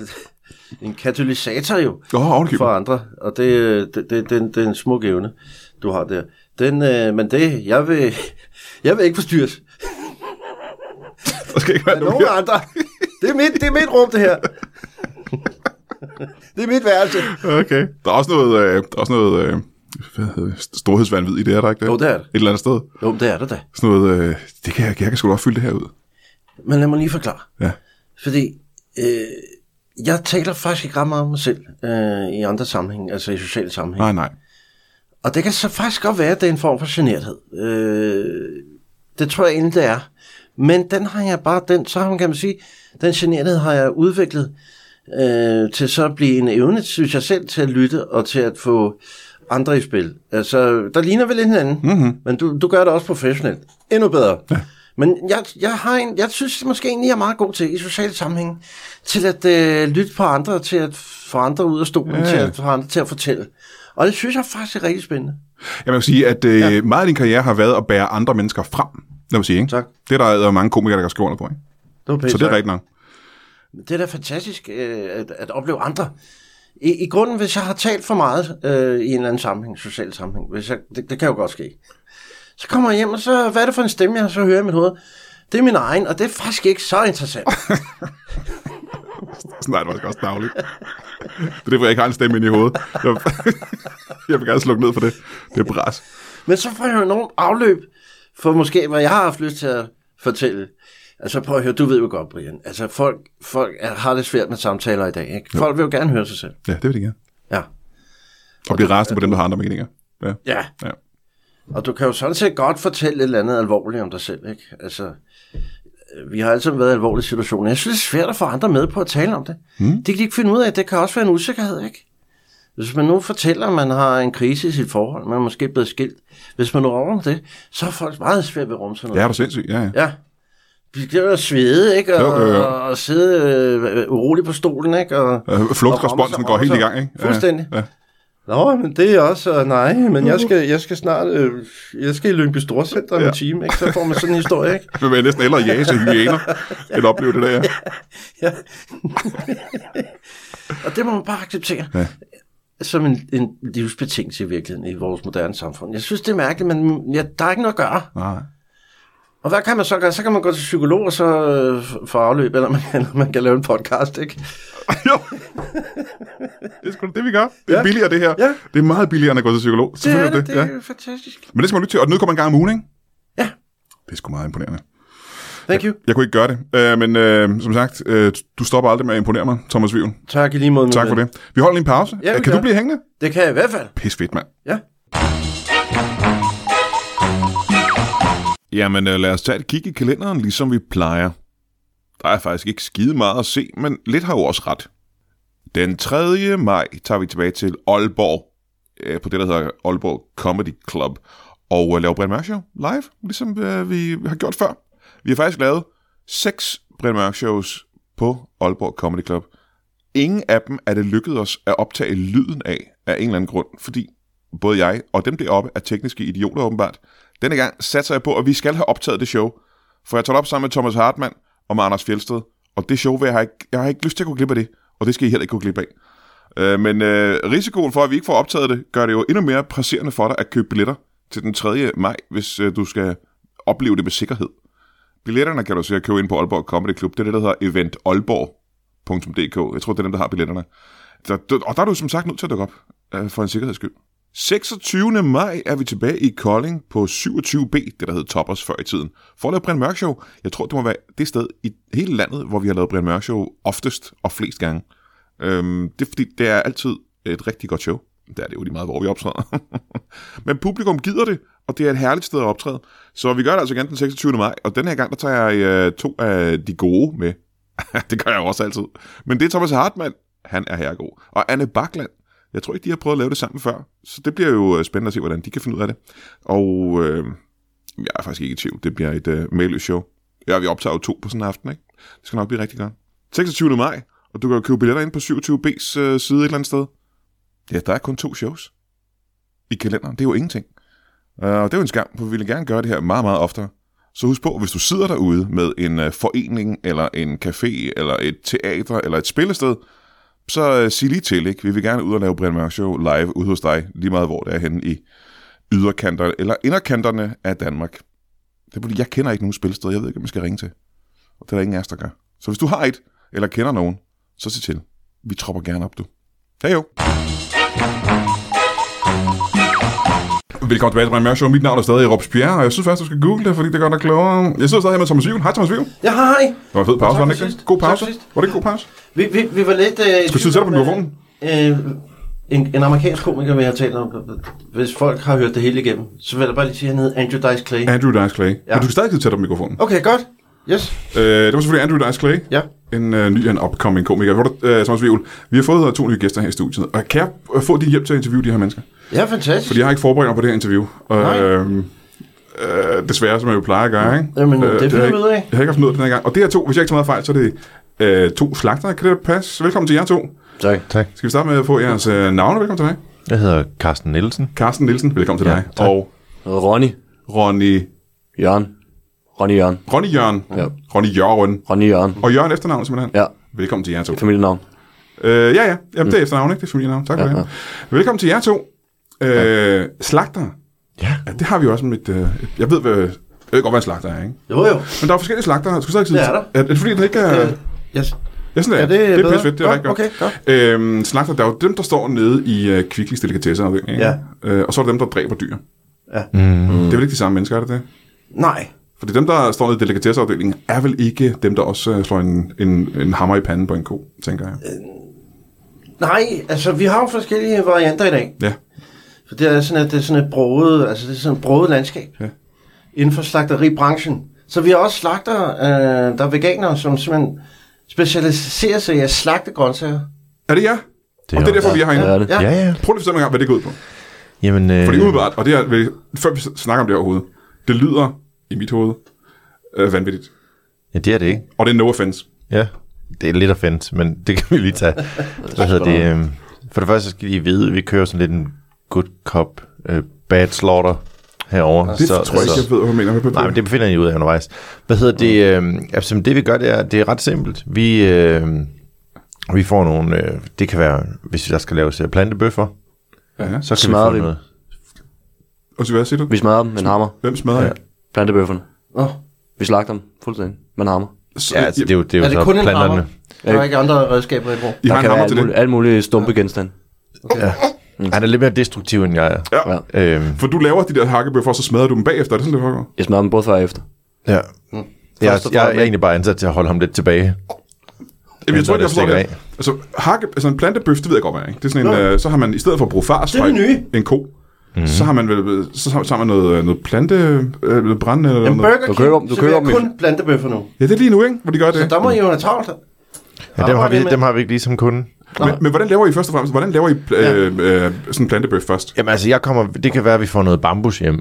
Speaker 2: en katalysator jo
Speaker 1: Åh, oh,
Speaker 2: for andre, og det, øh, det, det, det, er en- det er en smuk evne, du har der. Den, øh, men det, jeg vil, jeg vil ikke forstyrres
Speaker 1: Der skal ikke være
Speaker 2: af
Speaker 1: nogen
Speaker 2: nogen andre. Det er, mit, det er mit rum, det her. Det er mit værelse.
Speaker 1: Okay. Der er også noget, øh, der er også noget øh, hvad hedder det, storhedsvandvid i det, er der ikke det?
Speaker 2: Jo, det er det.
Speaker 1: Et eller andet sted.
Speaker 2: Jo, men det er det da.
Speaker 1: Sådan noget, øh, det kan jeg, jeg kan sgu da opfylde det her ud.
Speaker 2: Men lad mig lige forklare.
Speaker 1: Ja.
Speaker 2: Fordi øh, jeg taler faktisk ikke ret meget om mig selv øh, i andre sammenhæng, altså i sociale sammenhæng.
Speaker 1: Nej, nej.
Speaker 2: Og det kan så faktisk godt være, at det er en form for generthed. Øh, det tror jeg egentlig, det er. Men den har jeg bare, den, så har man, kan man sige, den generthed har jeg udviklet øh, til så at blive en evne, synes jeg selv, til at lytte og til at få andre i spil. Altså, der ligner vi lidt hinanden,
Speaker 1: Mhm.
Speaker 2: mm-hmm. men du, du gør det også professionelt. Endnu bedre. Ja. Men jeg, jeg, har en, jeg synes måske egentlig, jeg er meget god til i sociale sammenhæng, til at øh, lytte på andre, til at få andre ud af stolen,
Speaker 1: Ja.
Speaker 2: ja. til, at, få andre til at fortælle. Og det synes jeg faktisk er rigtig spændende.
Speaker 1: Jeg vil sige, at øh, ja. meget af din karriere har været at bære andre mennesker frem. Lad mig sige, ikke?
Speaker 2: Tak.
Speaker 1: Det er der er mange komikere, der kan skrive under på, ikke?
Speaker 2: Det var pænt
Speaker 1: Så det er
Speaker 2: sagt.
Speaker 1: rigtigt nok.
Speaker 2: Det er da fantastisk øh, at, at opleve andre. I, I grunden, hvis jeg har talt for meget øh, i en eller anden sammenhæng, social sammenhæng, hvis jeg, det, det kan jo godt ske, så kommer jeg hjem, og så, hvad er det for en stemme, jeg så hører i mit hoved? Det er min egen, og det er faktisk ikke så interessant.
Speaker 1: Sådan er det faktisk også dagligt. Det er derfor, jeg ikke har en stemme inde i hovedet. Jeg, jeg vil gerne slukke ned for det. Det er bras.
Speaker 2: Men så får jeg jo enormt afløb for måske, hvad jeg har haft lyst til at fortælle. Altså prøv at høre, du ved jo godt, Brian. Altså folk, folk er, har det svært med samtaler i dag, ikke? Folk vil jo gerne høre sig selv.
Speaker 1: Ja, det vil de gerne.
Speaker 2: Ja.
Speaker 1: Og blive rasende på dem, der har andre meninger. Ja.
Speaker 2: Ja,
Speaker 1: ja.
Speaker 2: Og du kan jo sådan set godt fortælle et eller andet alvorligt om dig selv, ikke? Altså, vi har altid været i alvorlige situationer. Jeg synes, det er svært at få andre med på at tale om det. Mm. Det kan de ikke finde ud af. Det kan også være en usikkerhed, ikke? Hvis man nu fortæller, at man har en krise i sit forhold, man er måske blevet skilt, hvis man nu rummer det, så er folk meget svært ved at rumme sådan
Speaker 1: Ja,
Speaker 2: noget.
Speaker 1: er du sindssyg? Ja, ja.
Speaker 2: Ja. Vi begynder at svede, ikke? Og,
Speaker 1: Jo, jo, jo.
Speaker 2: og sidde øh, urolig på stolen, ikke? Og,
Speaker 1: Øh, flugtresponsen går helt i gang, ikke? Ja,
Speaker 2: Fuldstændig.
Speaker 1: Ja.
Speaker 2: Nå, men det er også, øh, nej, men jeg skal, jeg skal snart, øh, jeg skal i Lyngby Storcenter ja. med time, ikke? Så får man sådan en historie, ikke?
Speaker 1: Jeg vil være næsten hellere jage til hyæner, end opleve det der. Ja.
Speaker 2: Ja. og det må man bare acceptere. Ja. Som en, en livsbetingelse i virkeligheden i vores moderne samfund. Jeg synes, det er mærkeligt, men ja, der er ikke noget at gøre.
Speaker 1: Nej.
Speaker 2: Og hvad kan man så gøre? Så kan man gå til psykolog og så øh, få afløb, eller man, eller man kan lave en podcast, ikke?
Speaker 1: jo. Det er sgu da det, vi gør. Det er
Speaker 2: Ja.
Speaker 1: billigere, det her.
Speaker 2: Ja.
Speaker 1: Det er meget billigere, end at gå til psykolog.
Speaker 2: Det er
Speaker 1: Selvfølgelig
Speaker 2: det, det
Speaker 1: Ja.
Speaker 2: er ja. fantastisk.
Speaker 1: Men det skal man lytte til, og den udkommer en gang om ugen, ikke?
Speaker 2: Ja,
Speaker 1: Det er sgu meget imponerende.
Speaker 2: thank you.
Speaker 1: Jeg kunne ikke gøre det, øh, men øh, som sagt, øh, du stopper aldrig med at imponere mig, Thomas Vivel.
Speaker 2: Tak i lige måde. min
Speaker 1: Tak for
Speaker 2: ven.
Speaker 1: det. Vi holder lige en pause.
Speaker 2: Ja, vi
Speaker 1: Øh, kan
Speaker 2: gør.
Speaker 1: du blive hængende?
Speaker 2: Det kan jeg i hvert fald,
Speaker 1: Pis fedt, mand.
Speaker 2: ja.
Speaker 1: Jamen, øh, lad os tage et kig i kalenderen, ligesom vi plejer. Der er faktisk ikke skide meget at se, men lidt har jo også ret. Den 3. maj tager vi tilbage til Aalborg, øh, på det, der hedder Aalborg Comedy Club, og øh, laver Brian Mørk Show live, ligesom øh, vi har gjort før. Vi har faktisk lavet seks Brian Mørk Shows på Aalborg Comedy Club. Ingen af dem er det lykkedes os at optage lyden af, af en eller anden grund, fordi både jeg og dem deroppe er tekniske idioter åbenbart. Denne gang satser jeg på, at vi skal have optaget det show, for jeg tager op sammen med Thomas Hartmann og med Anders Fjelsted, og det show vil jeg, have ikke, jeg har ikke lyst til at gå glip af det, og det skal I heller ikke gå glip af. Øh, men øh, risikoen for, at vi ikke får optaget det, gør det jo endnu mere presserende for dig at købe billetter til den 3. maj, hvis øh, du skal opleve det med sikkerhed. Billetterne kan du sikkert købe ind på Aalborg Comedy Club. Det er det, der hedder eventaalborg.dk. Jeg tror, det er dem, der har billetterne. Der, der- og der er du som sagt nødt til at dukke op, øh, for en sikkerheds skyld. 26. maj er vi tilbage i Kolding på 27B, det der hed Toppers før i tiden, for at lave Brian Mørk Show. Jeg tror, det må være det sted i hele landet, hvor vi har lavet Brian Mørk Show oftest og flest gange. Øhm, det er fordi, det er altid et rigtig godt show. Det er det jo lige meget, hvor vi optræder. Men publikum gider det, og det er et herligt sted at optræde. Så vi gør det altså igen den 26. maj, og den her gang, der tager jeg øh, to af de gode med. det gør jeg jo også altid. Men det er Thomas Hartmann, han er herregod. Og Anne Bakland, jeg tror ikke, de har prøvet at lave det sammen før. Så det bliver jo øh, spændende at se, hvordan de kan finde ud af det. Og øh, jeg er faktisk ikke i tvivl, det bliver et øh, mailøst show. Ja, vi optager jo to på sådan en aften, ikke? Det skal nok blive rigtig godt. 26. maj, og du kan jo købe billetter ind på 27B's øh, side et eller andet sted. Ja, der er kun to shows i kalenderen. Det er jo ingenting. Øh, Og det er jo en skam, for vi vil gerne gøre det her meget, meget oftere. Så husk på, hvis du sidder derude med en øh, forening, eller en café, eller et teater, eller et spillested, så øh, sig lige til, ikke? Vi vil gerne ud og lave Brian Mørk Show live ude hos dig, lige meget hvor det er henne i yderkanterne, eller inderkanterne af Danmark. Det er fordi, jeg kender ikke nogen spillested, jeg ved ikke, om jeg skal ringe til. Og det er der ingen af os, der gør. Så hvis du har et, eller kender nogen, så sig til. Vi tropper gerne op, du. Hej jo! Velkommen tilbage til Brian Mørk Show. Mit navn er stadig Robespierre, og jeg synes faktisk, du skal google det, fordi det gør dig klogere. Jeg sidder stadig her med Thomas Vivel. Hej Thomas Vivel.
Speaker 2: Ja, hej.
Speaker 1: Det var en fed pause,
Speaker 2: Tak
Speaker 1: var
Speaker 2: for
Speaker 1: det ikke det?
Speaker 2: sidst.
Speaker 1: God
Speaker 2: Tak
Speaker 1: pause.
Speaker 2: for sidst.
Speaker 1: Var det ikke god pause?
Speaker 2: Vi, vi, vi var lidt... Øh,
Speaker 1: Skal du sætte dig på mikrofonen?
Speaker 2: Øh, en, en amerikansk komiker, vi har talt om, hvis folk har hørt det hele igennem, så vil jeg bare lige sige, at han hed Andrew Dice Clay.
Speaker 1: Andrew Dice Clay. Ja. Men du skal stadig sidde tæt på mikrofonen.
Speaker 2: Okay, godt. Yes.
Speaker 1: Øh, det var selvfølgelig Andrew Dice Clay.
Speaker 2: Ja.
Speaker 1: En øh, ny and upcoming komiker. Hvor du, øh, Thomas Vivel, vi har fået øh, to nye gæster her i studiet. Og kan jeg øh, få din hjælp til at interviewe de her mennesker?
Speaker 2: Ja, fantastisk.
Speaker 1: Fordi jeg har ikke forberedt mig på det her interview. Og,
Speaker 2: Nej.
Speaker 1: øhm, øh, desværre, som jeg jo plejer at gøre, ikke?
Speaker 2: Jamen, det
Speaker 1: har
Speaker 2: finder
Speaker 1: jeg
Speaker 2: vi
Speaker 1: ikke-
Speaker 2: ud af.
Speaker 1: Jeg har ikke haft noget den her gang. Og det her to, hvis jeg ikke tager meget fejl, så er det øh, to slagter. Kan det passe? Velkommen til jer to.
Speaker 2: Tak.
Speaker 3: Tak.
Speaker 1: Skal vi starte med at få jeres øh, navne? Velkommen til dig.
Speaker 3: Jeg hedder Carsten Nielsen.
Speaker 1: Carsten Nielsen, velkommen til
Speaker 3: Ja,
Speaker 1: dig.
Speaker 3: tak.
Speaker 1: Og
Speaker 4: Ronny.
Speaker 1: Ronny,
Speaker 4: Jørgen. Ronny Jørgen.
Speaker 1: Ronny Jørgen.
Speaker 4: Ja.
Speaker 1: Ronny Jørgen.
Speaker 4: Ronny Jørgen.
Speaker 1: Og Jørgen efternavn simpelthen.
Speaker 4: Ja,
Speaker 1: Velkommen til jer to.
Speaker 4: familienavn.
Speaker 1: Øh, ja, ja. Jamen, det er efternavn, ikke? Det er familienavn. Tak for
Speaker 4: Ja,
Speaker 1: det. Velkommen til jer to. Øh, slagter.
Speaker 3: Ja.
Speaker 1: ja. det har vi også med et... Øh, jeg ved, hvad, jeg ved godt, hvad en slagter er, ikke?
Speaker 2: Jo, jo.
Speaker 1: Men der er forskellige slagter. Skal du så ikke sige
Speaker 2: Det er
Speaker 1: Er, er det fordi, den ikke er...
Speaker 2: Øh, yes.
Speaker 1: Ja, sådan
Speaker 2: er
Speaker 1: er,
Speaker 2: det
Speaker 1: det, det er
Speaker 2: bedre?
Speaker 1: pisse fedt, det er
Speaker 2: Godt,
Speaker 1: rigtig godt.
Speaker 2: okay,
Speaker 1: Øhm, slagter, der er jo dem, der står nede i uh, Kvicklis delikatesser, ikke?
Speaker 2: Ja.
Speaker 1: Øh, og så er der dem, der dræber dyr.
Speaker 2: Ja.
Speaker 1: Mm. Det er vel ikke de samme mennesker, er det det?
Speaker 2: Nej.
Speaker 1: Fordi dem, der står nede i delikatesseafdelingen, er vel ikke dem, der også øh, slår en, en, en hammer i panden på en ko, tænker jeg.
Speaker 2: Nej, altså vi har jo forskellige varianter i dag.
Speaker 1: Ja.
Speaker 2: For det er sådan, at det er sådan et broget, altså det er sådan et broget landskab.
Speaker 1: Ja.
Speaker 2: Inden for slagteribranchen, Så vi har også slagter, øh, der er veganere, som simpelthen specialiserer sig i at slagte grøntsager.
Speaker 1: Er det jer? Og det er derfor, vi er herinde.
Speaker 4: Ja, det er det.
Speaker 2: Ja.
Speaker 3: Ja, ja.
Speaker 1: Prøv lige at fortælle mig engang, hvad det går ud på.
Speaker 3: Jamen, øh,
Speaker 1: Fordi umiddelbart, og det her, før vi snakker om det overhovedet, det lyder i mit hoved øh, vanvittigt.
Speaker 3: ja, det er det ikke.
Speaker 1: Og det er no offense.
Speaker 3: Ja, det er lidt offent, men det kan vi lige tage. Hvad hedder det? øhm, For det første skal I vide, at vi kører sådan lidt en good cop, øh, bad slaughter herovre.
Speaker 1: Det så, tror jeg ikke, jeg ved, hvad jeg mener. Hvad-
Speaker 3: Nej, men det befinder I ud af undervejs. Hvad hedder det? Øh, altså, det vi gør, det er, det er ret simpelt. Vi, øh, vi får nogle... Øh, det kan være, hvis der skal laves øh, plantebøffer,
Speaker 1: Ja.
Speaker 3: så kan
Speaker 4: Smadrer
Speaker 3: vi få
Speaker 4: vi dem?
Speaker 3: noget.
Speaker 1: Og så hvad siger du?
Speaker 4: Vi smadrer dem med en hammer.
Speaker 1: Hvem smadrer ja.
Speaker 4: Plantebøfferne.
Speaker 2: Nå,
Speaker 4: Vi slagter dem fuldstændig med en hammer.
Speaker 1: Så,
Speaker 3: Ja, altså, det er jo, det er jo
Speaker 2: er det
Speaker 3: så
Speaker 2: kun en
Speaker 3: planterne.
Speaker 2: hammer? Der er ikke andre redskaber i brug.
Speaker 1: I har
Speaker 4: Der
Speaker 1: en
Speaker 4: kan være
Speaker 1: hammer til
Speaker 4: alt
Speaker 1: det.
Speaker 4: muligt, alt muligt stumpe genstand.
Speaker 3: Mm. Han er lidt mere destruktiv, end jeg er.
Speaker 1: Ja.
Speaker 4: Ja.
Speaker 3: Øhm,
Speaker 1: For du laver de der hakkebøffer, og så smadrer du dem bagefter. Er det sådan, det foregår?
Speaker 4: Jeg smadrer dem både før og efter.
Speaker 3: ja.
Speaker 2: Mm.
Speaker 3: Jeg,
Speaker 4: og
Speaker 3: jeg, jeg,
Speaker 4: fremmest.
Speaker 3: er egentlig bare ansat til at holde ham lidt tilbage.
Speaker 1: Jamen, jeg tror ikke,
Speaker 3: når
Speaker 1: jeg forstår
Speaker 3: det
Speaker 1: det. Altså, hakke, altså en plantebøf, det ved jeg godt, hvad er. Ikke? Det er sådan en,
Speaker 2: Nå.
Speaker 1: øh, så har man, i stedet for at bruge fars
Speaker 2: Det er det nye.
Speaker 1: en ko,
Speaker 3: Mhm.
Speaker 1: mm. så har man, vel, øh, så har, så har man noget, øh, noget plante, øh, noget brændende eller
Speaker 2: Men
Speaker 1: noget.
Speaker 2: Burger
Speaker 4: Du
Speaker 2: King
Speaker 4: køber dem- du køber
Speaker 2: serverer
Speaker 4: dem i-
Speaker 2: kun plantebøffer nu.
Speaker 1: Ja, det er lige nu, ikke? Hvor de gør
Speaker 2: Så
Speaker 1: det.
Speaker 2: der må I jo have travlt.
Speaker 3: Ja, dem, har
Speaker 2: Arbejder
Speaker 3: vi,
Speaker 2: I med-
Speaker 3: dem har vi ikke ligesom lige som kunde.
Speaker 1: Men, men, hvordan laver I først og fremmest? Hvordan laver I pl-
Speaker 2: Ja.
Speaker 1: øh, øh, sådan en plantebøf først?
Speaker 3: Jamen altså, jeg kommer, det kan være, at vi får noget bambus hjem.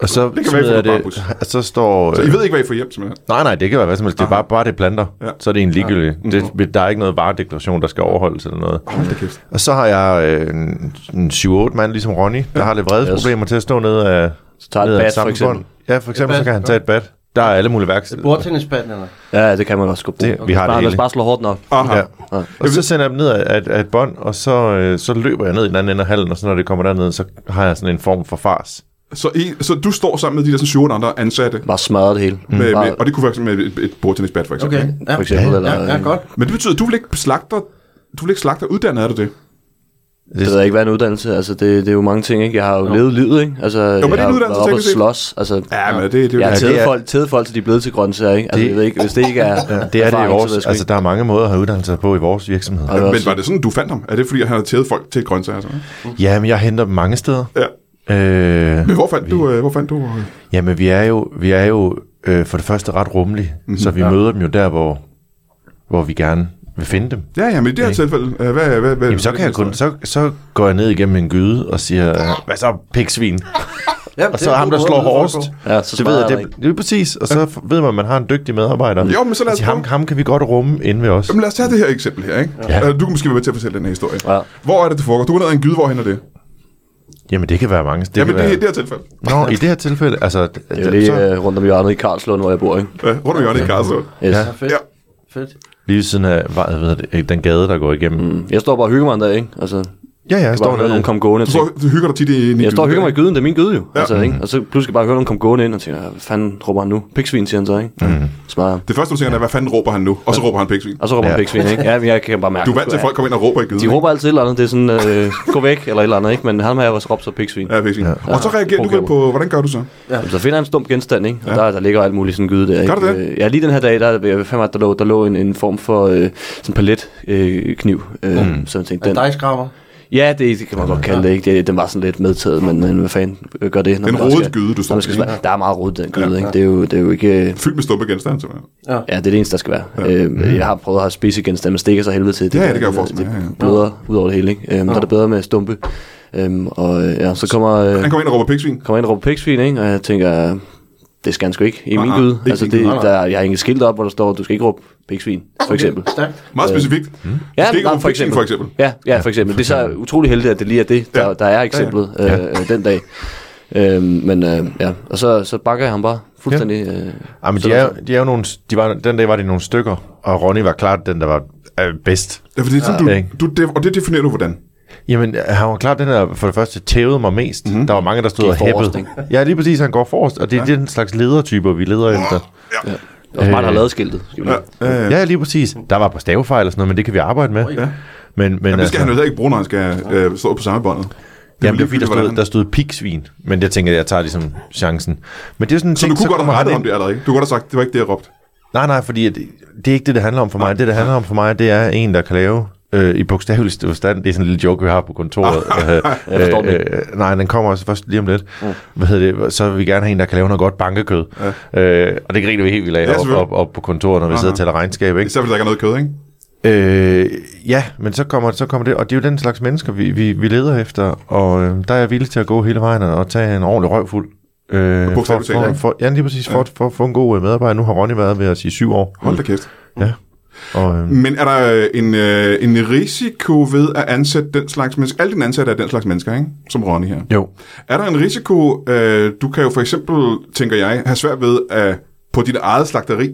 Speaker 3: Og så,
Speaker 1: være, I
Speaker 3: smider
Speaker 1: får
Speaker 3: jeg
Speaker 1: noget bambus.
Speaker 3: Og så står...
Speaker 1: Så
Speaker 3: øh,
Speaker 1: I ved ikke, hvad I får hjem, simpelthen.
Speaker 3: Nej, nej, det kan være hvad som helst. Det er bare, bare det er planter.
Speaker 1: Ja.
Speaker 3: Ja. Så er det en ligegyldig. Ja. Det, der er ikke noget varedeklaration, der skal overholdes eller noget.
Speaker 1: Hold da kæft.
Speaker 3: Og så har jeg øh, en, en 7-8 mand, ligesom Ronny, der har lidt vrede yes. problemer til at stå nede af...
Speaker 4: Så tager et
Speaker 3: nede af
Speaker 4: bat, for
Speaker 3: samlebånd.
Speaker 4: eksempel.
Speaker 3: Ja, for eksempel,
Speaker 2: Et
Speaker 3: så
Speaker 2: bat,
Speaker 3: kan han tage et bat. Der er alle mulige værksteder.
Speaker 2: Bordtennisbatten, eller?
Speaker 4: Ja, det kan man også godt bruge.
Speaker 3: Det- vi har det
Speaker 4: bare,
Speaker 3: hele.
Speaker 4: Lad os bare slå hårdt nok.
Speaker 1: Aha.
Speaker 3: Ja.
Speaker 1: Ja.
Speaker 3: Og så sender jeg dem ned af, af, af et bånd, og så, øh, så løber jeg ned i den anden ende af hallen, og så når det kommer derned, så har jeg sådan en form for fars.
Speaker 1: Så, I, så du står sammen med de der sådan 7 andre ansatte,
Speaker 4: Bare smadre det hele.
Speaker 1: Mm. med,
Speaker 4: bare,
Speaker 1: med, og det kunne være med et, et bordtennisbat, for eksempel.
Speaker 2: Okay.
Speaker 1: ikke?
Speaker 2: Ja.
Speaker 4: for eksempel. Eller,
Speaker 2: Ja, ja, godt.
Speaker 1: Men det betyder, at du vil ikke slagter, du vil ikke slagter uddannet, er du det?
Speaker 4: Det ved jeg ikke, hvad er en uddannelse. Altså, det, det er jo mange ting, ikke? Jeg har jo levet livet, ikke? Altså, jo,
Speaker 1: det er en
Speaker 4: jeg
Speaker 1: uddannelse,
Speaker 4: oppe og
Speaker 1: teknisk set.
Speaker 4: slås. Altså,
Speaker 1: Ja, men det, det, det
Speaker 4: jeg har
Speaker 3: det
Speaker 4: tædet
Speaker 3: er-
Speaker 4: folk, tædet folk, til de er blevet til grøntsager, ikke? Altså,
Speaker 3: Det-
Speaker 4: det, jeg ved ikke, hvis det ikke er ja,
Speaker 3: Det er det i vores, altså der er mange måder at have uddannelser på i vores virksomhed.
Speaker 4: det
Speaker 1: Men var det sådan, du fandt ham? Er det fordi, han havde taget folk til grøntsager? Altså?
Speaker 3: Ja, men jeg henter dem mange steder.
Speaker 1: Ja.
Speaker 3: Øh,
Speaker 1: Men hvor fandt du? øh, Hvor fandt du? øh,
Speaker 3: jamen vi er jo, vi er jo øh, for det første ret rummelige, mm-hmm, så vi ja. møder dem jo der, hvor, hvor vi gerne vil finde dem.
Speaker 1: Ja, ja, men i det her tilfælde, øh, hvad, hvad, hvad,
Speaker 3: Jamen, så, kan jeg kun, så, så går jeg ned igennem en gyde og siger, øh, hvad så, piksvin?
Speaker 2: Ja,
Speaker 3: Og så ham, der slår hårdest.
Speaker 4: Ja, så
Speaker 3: det ved
Speaker 4: smadrer
Speaker 3: jeg,
Speaker 4: jeg
Speaker 3: det, det er præcis. Og så f- ved man, at man har en dygtig medarbejder.
Speaker 1: Jo, men så lad os
Speaker 3: Altså, ham,
Speaker 1: prøve.
Speaker 3: ham kan vi godt rumme inde ved os.
Speaker 1: Jamen lad os tage det her eksempel her, ikke? Ja. Du kan måske være med til at fortælle den her historie.
Speaker 4: Ja.
Speaker 1: Hvor er det, det foregår? Du går ned ad en gyde, hvor hen er det?
Speaker 3: Jamen, det kan være mange. Det
Speaker 1: Jamen
Speaker 3: kan
Speaker 1: det er i
Speaker 3: være...
Speaker 1: det her tilfælde.
Speaker 3: Nå, i det her tilfælde, altså...
Speaker 4: Det er jo lige øh, rundt om hjørnet i Karlslund, hvor jeg bor, ikke?
Speaker 1: Ja, rundt om hjørnet i Karlsruhe.
Speaker 4: Yes.
Speaker 2: Ja, fedt.
Speaker 1: Ja.
Speaker 2: Fedt.
Speaker 3: Lige ved siden af hvad, hvad hedder det, øh, den gade, der går igennem. Mm.
Speaker 4: Jeg står bare og hygger mig en dag, ikke? Altså,
Speaker 3: Ja, ja, jeg
Speaker 4: jeg står
Speaker 3: står
Speaker 4: bare høre
Speaker 3: nede.
Speaker 4: nogen komme gående. og
Speaker 1: Du, står,
Speaker 4: tænker,
Speaker 1: du hygger dig tit i en
Speaker 4: Jeg står og hygger mig i gyden, det er min gyde
Speaker 1: Ja.
Speaker 4: jo.
Speaker 1: Mm.
Speaker 4: Altså, ikke? Og så pludselig bare hører nogen komme gående ind og tænker, hvad fanden råber han nu? Piksvin, siger han så, ikke?
Speaker 1: Mm.
Speaker 4: Smadrer ham.
Speaker 1: Det første, du tænker, er, hvad fanden råber han nu? Og så råber han piksvin.
Speaker 4: Og så råber
Speaker 3: Ja.
Speaker 4: han piksvin, ikke? Ja, men jeg kan bare mærke.
Speaker 1: Du er vant til, at folk kommer ind og råber i gyden.
Speaker 4: De råber altid et eller andet, det er sådan, øh, gå væk, eller et eller andet, ikke? Men han har også råbt så piksvin.
Speaker 1: ikke? Ja, piksvin. Og så reagerer du vel på, hvordan gør du så?
Speaker 4: Jamen, Så finder jeg en stum genstand, ikke? Og der, der ligger alt muligt sådan en gyde der, ikke?
Speaker 1: Gør der det?
Speaker 4: Øh, Ja, lige den her dag, der, jeg ved fandme, at der lå, der lå en, en form for øh, sådan palet øh, kniv. Øh, mm. sådan ting.
Speaker 2: Den.
Speaker 4: Den,
Speaker 2: Dig skraber.
Speaker 4: ja, det, det, kan man godt kalde det, ikke? Det, den var sådan lidt medtaget, men, men hvad fanden øh, gør det? Når
Speaker 1: Den
Speaker 4: man også
Speaker 1: rodede
Speaker 4: skal-
Speaker 1: gyde, du
Speaker 4: når
Speaker 1: står
Speaker 4: man skal
Speaker 1: med,
Speaker 4: sma- Der er meget rodet, den gyde, ikke? Det er jo, det er jo ikke... øh,
Speaker 1: Fyldt med stumpe genstande, simpelthen.
Speaker 4: Ja, det er det eneste, der skal være. Ja. Øh, jeg har prøvet at have spisegenstande, men stikker sig helvede til.
Speaker 1: Mm. Ja,
Speaker 4: der-
Speaker 1: det kan jeg forestille mig,
Speaker 4: det
Speaker 1: ja, ja.
Speaker 4: bløder ud over det hele, ikke? Øhm, Der er det bedre med stumpe. Øhm, og øh, ja, så kommer, øh,
Speaker 1: Han kommer ind og råber piksvin.
Speaker 4: kommer ind og råber piksvin, ikke? Og jeg tænker, øh, det skal han sgu ikke i min
Speaker 1: nej,
Speaker 4: gyde.
Speaker 1: ikke
Speaker 4: Altså,
Speaker 1: min
Speaker 4: det,
Speaker 1: gyde,
Speaker 2: nej,
Speaker 4: der, jeg har ingen skilt op, hvor der står, du skal ikke råbe piksvin, for eksempel.
Speaker 2: Stærkt.
Speaker 1: Meget specifikt. Ja, du skal ikke
Speaker 4: nej,
Speaker 1: råbe piksvin, for eksempel.
Speaker 4: Ja, ja, for eksempel. Det er så utrolig heldigt, at det lige er det, der,
Speaker 1: Ja.
Speaker 4: der er eksemplet ja, ja. Øh, øh, den dag. Øhm, men øh, ja, og så, så bakker jeg ham bare fuldstændig. Øh,
Speaker 3: Ja, men de er, jo- de er jo nogle, de var, den dag var det nogle stykker, og Ronny var klart den, der var øh, bedst.
Speaker 1: Ja, for det er sådan, du,
Speaker 3: Ja, ikke?
Speaker 1: du, det, og det definerer du hvordan.
Speaker 3: Jamen, øh, han var klart den, der for det første tævede mig mest. Mm-hmm. Der var mange, der stod
Speaker 4: Gik
Speaker 3: og
Speaker 4: forrest,
Speaker 3: hæppede.
Speaker 4: ikke?
Speaker 3: Ja, lige præcis, han går forrest, og det er ja. den slags ledertyper, vi leder efter.
Speaker 4: og smart har
Speaker 3: Øh.
Speaker 4: lavet skiltet. Skal vi
Speaker 1: Ja,
Speaker 4: lige.
Speaker 1: øh,
Speaker 3: Ja, lige præcis. Der var på stavefejl og sådan noget, men det kan vi arbejde med. Ja. Men, men,
Speaker 1: men det skal
Speaker 3: altså-
Speaker 1: han jo heller ikke bruge, når han skal øh, stå på samme båndet.
Speaker 3: Ja, det var fordi, der stod,
Speaker 1: hvordan
Speaker 3: der
Speaker 1: han-
Speaker 3: stod pigsvin, men jeg tænker, jeg tager ligesom chancen. Men det er sådan en
Speaker 1: Så du
Speaker 3: ting,
Speaker 1: kunne godt
Speaker 3: kommer
Speaker 1: have rettet
Speaker 3: han
Speaker 1: om
Speaker 3: ind-
Speaker 1: det allerede, ikke? Du kunne godt have sagt, det var ikke det, jeg råbte.
Speaker 3: Nej, nej, fordi det, det er ikke det, det handler om for mig. Det, det handler om for mig, det er en, der kan lave øh, i bogstaveligste forstand. Det er sådan en lille joke, vi har på kontoret. øh,
Speaker 4: jeg forstår den ikke.
Speaker 3: øh, nej, den kommer også først lige om lidt. Mm. Hvad hedder det? Så vil vi gerne have en, der kan lave noget godt bankekød. Ja. Øh, og det griner vi helt vildt af ja, op,
Speaker 1: selvfølgelig.
Speaker 3: op, op, på kontoret, når vi sidder og tæller regnskab. Ikke?
Speaker 1: Især fordi der ikke er noget kød, ikke?
Speaker 3: Øh, ja, men så kommer, så kommer det, og det er jo den slags mennesker, vi, vi, vi leder efter, og øh, der er jeg villig til at gå hele vejen og tage en ordentlig røvfuld. Øh, for,
Speaker 1: bogstaveligt talt,
Speaker 3: for,
Speaker 1: ikke?
Speaker 3: for, ja, lige præcis, for, for, at få en god øh, medarbejder. Nu har Ronny været ved os i syv år.
Speaker 1: Hold da kæft.
Speaker 3: Ja. Og, øh,
Speaker 1: Men er der øh, en, øh, en risiko ved at ansætte den slags mennesker? Alle dine ansatte er den slags mennesker, ikke? Som Ronny her.
Speaker 3: jo,
Speaker 1: Er der en risiko, øh, du kan jo for eksempel, tænker jeg, have svært ved at på dit eget slagteri,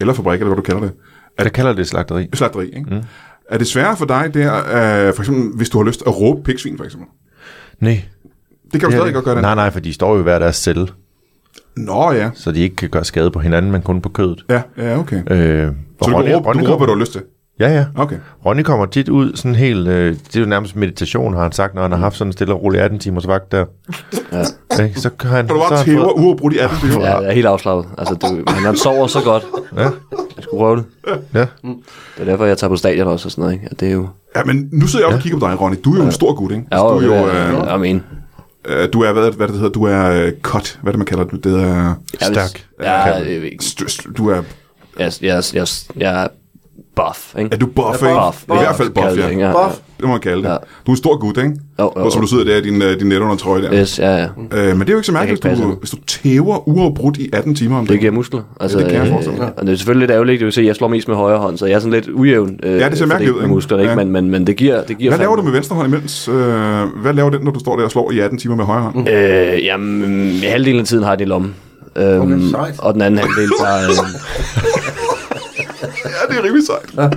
Speaker 1: eller fabrik, eller hvad du kalder det, at,
Speaker 3: jeg kalder det slagteri.
Speaker 1: slagteri, ikke? Mm. Er det sværere for dig der, øh, for eksempel, hvis du har lyst at råbe piksvin, for eksempel?
Speaker 3: Nej.
Speaker 1: Det kan du stadig godt gøre, den.
Speaker 3: Nej, nej, for de står jo i hver deres celle,
Speaker 1: Nå ja.
Speaker 3: så de ikke kan gøre skade på hinanden, men kun på kødet.
Speaker 1: Ja, ja, okay.
Speaker 3: Øh, og
Speaker 1: Så du kan råbe, du kan råbe,
Speaker 3: kommer-
Speaker 1: hvad du har lyst til.
Speaker 3: Ja, ja.
Speaker 1: Okay.
Speaker 3: Ronny kommer tit ud sådan helt, øh, det er jo nærmest meditation, har han sagt, når han har haft sådan en stille og rolig 18 timers vagt der. Ja. Ikke? Så kan han...
Speaker 1: Så du
Speaker 3: så
Speaker 1: bare
Speaker 3: har han
Speaker 1: tæver uafbrudt i 18 timer.
Speaker 4: Ja, jeg er helt afslappet. Altså, det, han, han sover så godt.
Speaker 3: Ja.
Speaker 4: Jeg skulle prøve det.
Speaker 3: Ja.
Speaker 4: Det er derfor, jeg tager på stadion også og sådan noget, ikke? At det er jo...
Speaker 1: Ja, men nu sidder jeg også og kigger på dig, Ronny. Du er jo en stor gut, ikke?
Speaker 4: Ja,
Speaker 1: du er jo,
Speaker 4: jeg,
Speaker 1: øh,
Speaker 4: jeg, jeg mener.
Speaker 1: øh, du er, hvad, er det- hvad det hedder, du er øh, cut, hvad er det, man kalder det, det er,
Speaker 3: Stærk.
Speaker 4: Ja, jeg, jeg, jeg,
Speaker 1: st- st- du er,
Speaker 4: jeg, jeg, jeg, jeg er buff, ikke?
Speaker 1: er du buff, ikke? I hvert fald buff, ja.
Speaker 4: ja.
Speaker 2: Buff.
Speaker 1: Det må man kalde det.
Speaker 4: Ja.
Speaker 1: Du er en stor gut, ikke?
Speaker 4: Jo, jo,
Speaker 1: Og som
Speaker 4: jo.
Speaker 1: du sidder der i din, øh, din netundertrøje der.
Speaker 4: ja. Yes, ja, ja.
Speaker 1: Øh, men det er jo ikke så mærkeligt,
Speaker 4: kan ikke
Speaker 1: hvis
Speaker 4: passe
Speaker 1: du,
Speaker 4: det.
Speaker 1: hvis du tæver uafbrudt i 18 timer om
Speaker 4: Det
Speaker 1: dagen.
Speaker 4: giver muskler. Altså,
Speaker 1: Ja, det kan jeg forestille mig.
Speaker 4: øh, og det er selvfølgelig lidt ærgerligt, det vil sige, at jeg slår mest med højre hånd, så jeg er sådan lidt ujævn. Øh,
Speaker 1: Ja, det ser
Speaker 4: fordelt
Speaker 1: mærkeligt ud,
Speaker 4: med
Speaker 1: ikke?
Speaker 4: Muskler, ikke?
Speaker 1: Ja.
Speaker 4: Men, men, men det giver, det giver
Speaker 1: Hvad laver du
Speaker 4: fandme-
Speaker 1: med venstre hånd imens? Øh, hvad laver den, når du står der og slår i 18 timer med højre hånd?
Speaker 4: Øh, jamen, halvdelen af tiden har jeg den i lommen. Øhm,
Speaker 2: Okay, sejt.
Speaker 4: og den anden halvdel tager, øh,
Speaker 1: Ja, det er rimelig sejt.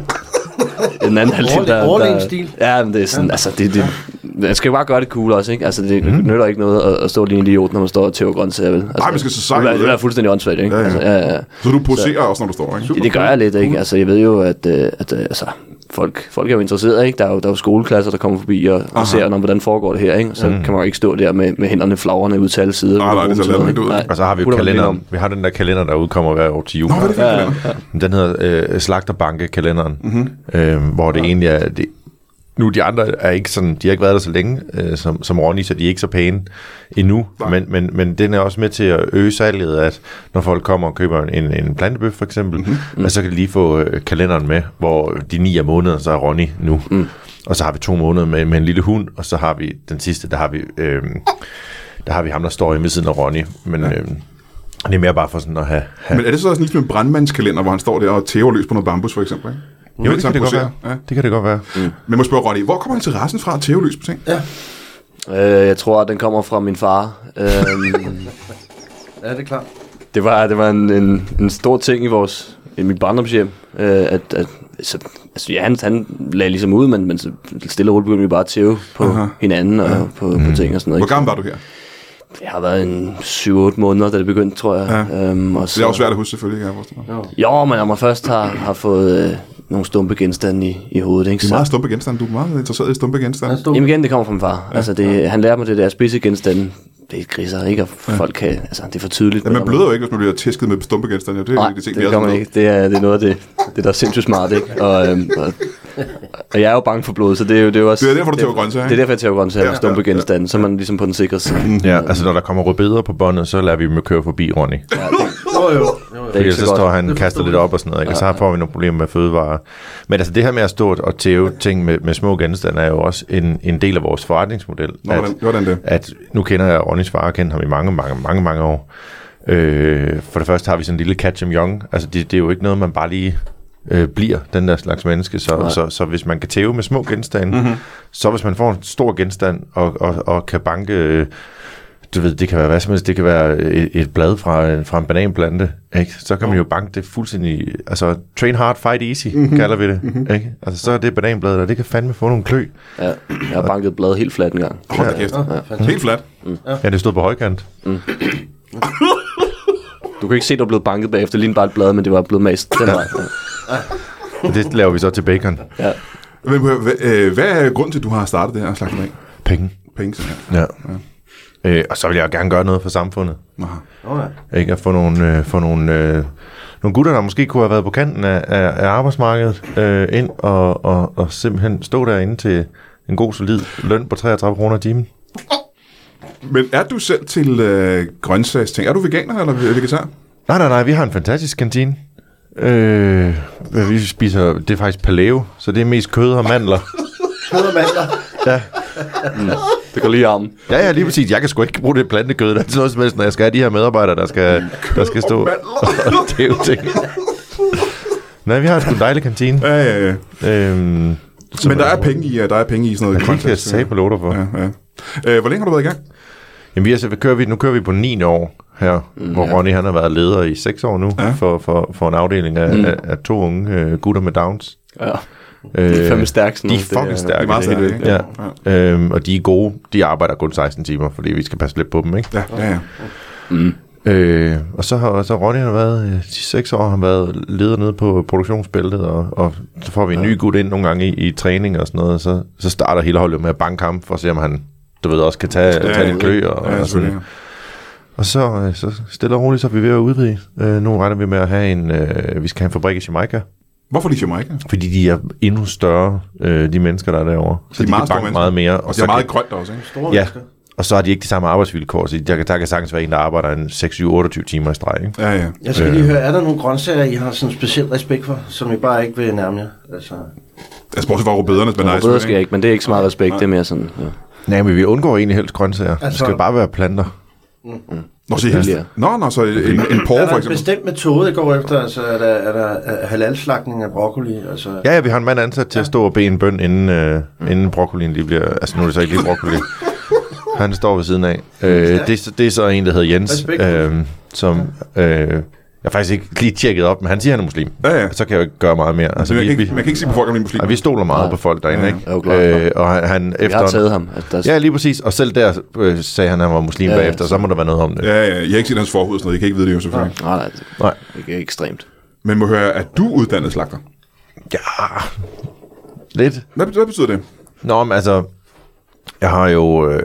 Speaker 4: den anden halvdel, der,
Speaker 2: overlegen-stil.
Speaker 4: der, ja, men det er sådan, altså, det, det, man skal jo bare gøre det cool også, ikke? Altså, det mm.
Speaker 1: Mhm.
Speaker 4: nytter ikke noget at, at stå lige en idiot, når man står og tæver grøntsager, vel? Altså,
Speaker 1: Nej, man skal se sej
Speaker 4: det,
Speaker 1: ud,
Speaker 4: er- det
Speaker 1: ikke?
Speaker 4: er fuldstændig åndssvagt, ikke?
Speaker 1: Ja, ja.
Speaker 4: Altså, ja, ja.
Speaker 1: Så du poserer også, når du står, ikke?
Speaker 4: Ja, det gør jeg lidt, ikke? Altså, jeg ved jo, at, øh, at øh, altså, folk, folk er jo interesserede, ikke? Der er jo, der er jo skoleklasser, der kommer forbi og, og ser, når, hvordan foregår det her, ikke? Og Så mm. kan man jo ikke stå der med, med hænderne flagrende ud til alle sider.
Speaker 1: Nej, nej, det ser latterligt ud.
Speaker 3: Og så har vi jo
Speaker 4: putter man lidt
Speaker 3: kalenderen. Vi har den der kalender, der udkommer hver år til jul.
Speaker 1: Nå, hvad er det for en kalender?
Speaker 3: Den hedder øh, Slagterbanke-kalenderen, mm-hmm. øh, hvor det ja. egentlig er... Det, nu de andre er ikke sådan, de har ikke været der så længe øh, som, som Ronny, så de er ikke så pæne endnu. Men, men, men den er også med til at øge salget, at når folk kommer og køber en, en plantebøf for eksempel, mm-hmm. så kan de lige få øh, kalenderen med, hvor de ni af måneder, så er Ronny nu. Mm. Og så har vi to måneder med, med en lille hund, og så har vi den sidste, der har vi, øh, der har vi ham, der står hjemme ved siden af Ronny. Men ja. øh, det er mere bare for sådan at have, have
Speaker 1: Men er det så også lidt som en brandmandskalender, hvor han står der og tæver løs på noget bambus, for eksempel, ikke?
Speaker 3: Jo, det
Speaker 1: Mens
Speaker 3: kan
Speaker 1: han
Speaker 3: det godt
Speaker 1: poserer.
Speaker 3: være. Ja. Det kan det godt være. Mm.
Speaker 1: Men må jeg spørge Ronny, hvor kommer interessen fra at tæve løs på ting? Ja.
Speaker 4: Øh, jeg tror, at den kommer fra min far. Øhm,
Speaker 2: Ja, det er klart.
Speaker 4: det var, det var en, en, en stor ting i vores i mit barndomshjem, øh, at, at så, altså, ja, han, han lagde ligesom ud, men, men så stille og roligt begyndte vi bare at tæve på Aha. Mhm. hinanden og på, på ting og sådan noget.
Speaker 1: Hvor
Speaker 4: Ikke?
Speaker 1: gammel var du her?
Speaker 4: Jeg har været en 7-8 måneder, da det begyndte, tror jeg. Ja. Øhm, og så,
Speaker 1: Det er også svært at huske, selvfølgelig. Kan jeg forestille mig.
Speaker 4: Jo, men når man først har, har fået øh, nogle stumpe genstande i, i hovedet, ikke?
Speaker 1: Det er
Speaker 4: Så,
Speaker 1: meget stumpe genstande. Du er meget interesseret i stumpe genstande.
Speaker 2: Han stod
Speaker 4: jamen igen, det kommer fra min far. Ja. Altså, det, han lærer mig det der at spidse genstande. Det er griser, ikke? Og folk kan, altså, det er for tydeligt.
Speaker 1: Ja, man bløder jo ikke, hvis man bliver tæsket med stumpe genstande. Det er
Speaker 4: Nej,
Speaker 1: en af de ting, vi
Speaker 4: det
Speaker 1: har
Speaker 4: gør man
Speaker 1: sådan
Speaker 4: ikke. Det er, det er noget af det, det der er sindssygt smart, ikke? Og, øhm, og, og jeg er jo bange for blod, så det er jo det er jo også...
Speaker 1: Det er derfor, du tæver grøntsager, ikke?
Speaker 4: Det er derfor, jeg tæver grøntsager og stumpe
Speaker 1: ja, Mm. ja.
Speaker 4: genstande, så er man ligesom på den sikre side. Det
Speaker 3: Ja, altså når der kommer rødbeder på båndet, så lader vi dem jo køre forbi Ronny. Ja,
Speaker 2: Jo, jo. jo, jo.
Speaker 4: er ikke
Speaker 3: Ellers så
Speaker 4: så
Speaker 3: står
Speaker 4: godt.
Speaker 3: han og kaster lidt op og sådan noget, ikke? og så får vi nogle problemer med fødevarer. Men altså det her med at stå og tæve ting med, med små genstande er jo også en, en del af vores forretningsmodel.
Speaker 1: Nå, hvordan, hvordan det?
Speaker 3: at nu kender jeg Ronnys far og kender ham i mange, mange, mange, mange år. Øh, for det første har vi sådan en lille catch em young. Altså det, det er jo ikke noget, man bare lige øh, bliver, den der slags menneske. Så, så, så hvis man kan tæve med små genstande, mm-hmm. så hvis man får en stor genstand og, og, og kan banke... Øh, du ved, det kan være hvad som helst, det kan være et, et blad fra, en- fra en bananplante, ikke? så kan man jo banke det fuldstændig, altså train hard, fight easy, mm-hmm. kalder vi det, ikke? altså så er det bananbladet, og det kan fandme få nogle klø.
Speaker 4: Ja, jeg har banket blad helt fladt en gang.
Speaker 1: Hold da kæft. Helt flat.
Speaker 3: Ja, det stod på højkant.
Speaker 4: Du kan ikke se, at du er blevet banket bagefter, lige bare et blad, men det var blevet mast den vej.
Speaker 3: Og det laver vi så til bacon.
Speaker 4: Ja.
Speaker 1: Men, prøv at høre, hva- øh, hvad er grunden til, at du har startet det her slags med
Speaker 3: Penge.
Speaker 1: penge? Sådan her?
Speaker 3: Ja. Øh, og så vil jeg gerne gøre noget for samfundet.
Speaker 2: Nå ja.
Speaker 3: Ikke? At få nogle, øh, få nogle, øh, nogle gutter, der måske kunne have været på kanten af, af, af arbejdsmarkedet, øh, ind og, og, og simpelthen stå derinde til en god, solid løn på 33 kroner i timen.
Speaker 1: Men er du selv til øh, grøntsagsting? Er du veganer eller vegetar?
Speaker 3: Nej, nej, nej, vi har en fantastisk kantine. Øh, hvad vi spiser, det er faktisk paleo, så det er mest kød og mandler.
Speaker 4: Det går lige i armen.
Speaker 3: Ja, ja, lige præcis. Jeg kan sgu ikke bruge det plantekød, der er til noget som helst, når jeg skal have de her medarbejdere, der skal, der skal stå og tæve ting. Nej, vi har sgu en dejlig kantine.
Speaker 1: Ja, ja, ja.
Speaker 3: Øhm, som
Speaker 1: Men der er penge i, ja, der er penge i sådan noget
Speaker 3: Jeg kan ikke jeg sagde på låter for. Ja.
Speaker 1: Ja, ja. Øh, hvor længe har du været i gang?
Speaker 3: Jamen, vi er, så, hvad kører vi, nu kører vi på 9. år her, mm, hvor Ronny han har været leder i 6 år nu, ja. for, for, for en afdeling af, mm. af, af to unge øh, gutter med Downs.
Speaker 4: Ja.
Speaker 3: Øh,
Speaker 4: De er fandme stærke. Sådan
Speaker 3: De er
Speaker 4: noget. Det
Speaker 3: fucking stærke.
Speaker 1: Det er meget stærkt, ikke?
Speaker 3: Ja. ja. Øhm, og de er gode. De arbejder kun 16 timer, fordi vi skal passe lidt på dem, ikke?
Speaker 1: Ja, ja, ja.
Speaker 4: Mm.
Speaker 3: Øh, og så har så Ronny har været, øh, de seks år har han været leder nede på produktionsbæltet, og, og så får vi en ny gut ind nogle gange i, i træning og sådan noget, og så, så starter hele holdet med at banke ham, for at se om han, du ved, også kan tage, ja, tage lidt klø og,
Speaker 1: ja,
Speaker 3: ja, og sådan.
Speaker 1: selvfølgelig,
Speaker 3: Og så, øh, så stille og roligt, så er vi ved at udvide. Øh, nu regner vi med at have en, øh, vi skal have en fabrik i Jamaica,
Speaker 1: Hvorfor lige Jamaica? De,
Speaker 3: fordi de er endnu større, øh, de mennesker, der er derovre. Så de, de kan
Speaker 1: store
Speaker 3: banke
Speaker 1: mennesker.
Speaker 3: meget mere.
Speaker 1: Og det
Speaker 3: så
Speaker 1: er meget
Speaker 3: kan,
Speaker 1: grønt også, ikke?
Speaker 2: Store
Speaker 3: Ja,
Speaker 2: mennesker.
Speaker 3: og så har de ikke de samme arbejdsvilkår, så der, kan- der kan sagtens være en, der arbejder en 6-7-28 timer i streg, ikke?
Speaker 1: Ja, ja.
Speaker 2: Jeg skal lige høre, er der nogle grøntsager, I har sådan speciel respekt for, som I bare ikke vil nærme jer? Altså,
Speaker 1: Altså, bortset fra rubederne, men nej.
Speaker 4: bedre skal jeg ikke, men det er ikke så meget respekt. Det er mere sådan... Ja.
Speaker 3: Nej, men vi undgår egentlig helst grøntsager. Altså, det
Speaker 2: Altså-
Speaker 3: skal bare være planter.
Speaker 1: Nå, så helst.
Speaker 4: Ja.
Speaker 1: Nå, nå, så en, en porre,
Speaker 2: er der
Speaker 1: for
Speaker 2: en
Speaker 1: eksempel.
Speaker 2: bestemt metode, I går efter? Altså, er der, er der øh, halalslagning af broccoli? Altså, ja.
Speaker 3: Ja, ja, vi har en mand ansat til at stå og bede en bøn, inden, øh, inden broccolien lige bliver... Altså, nu er det så ikke lige broccoli. Han står ved siden af. Øh, det, er så- det er så en, der hedder Jens,
Speaker 2: Respekt.
Speaker 3: øh, som... Øh, jeg har faktisk ikke lige tjekket op, men han siger, han er muslim.
Speaker 1: Ja, ja.
Speaker 3: Så kan jeg jo ikke gøre meget mere. Altså,
Speaker 1: Så man,
Speaker 3: vi,
Speaker 1: kan
Speaker 3: vi,
Speaker 1: ikke, man kan ikke sige på folk, om de er muslimer.
Speaker 3: og vi stoler meget på folk derinde,
Speaker 1: Ja, ja.
Speaker 4: Jo,
Speaker 3: ikke?
Speaker 4: klart.
Speaker 3: øh, og han, han
Speaker 4: Jeg har
Speaker 3: efter...
Speaker 4: taget ham. Altså, der,
Speaker 3: Ja, lige præcis. Og selv der øh, sagde han, at han var muslim
Speaker 4: Ja,
Speaker 3: ja,
Speaker 4: ja.
Speaker 3: bagefter, så må der være noget om det.
Speaker 1: Ja, ja, jeg har ikke set hans forhud og sådan noget. Jeg kan ikke vide det jo, selvfølgelig.
Speaker 4: Nej, nej, Ah, det
Speaker 3: Nej.
Speaker 4: er ikke ekstremt.
Speaker 1: Men må høre, at du er uddannet slagter.
Speaker 3: Ja, lidt.
Speaker 1: Hvad, bet- hvad betyder det?
Speaker 3: Nå, men altså, jeg har jo, øh,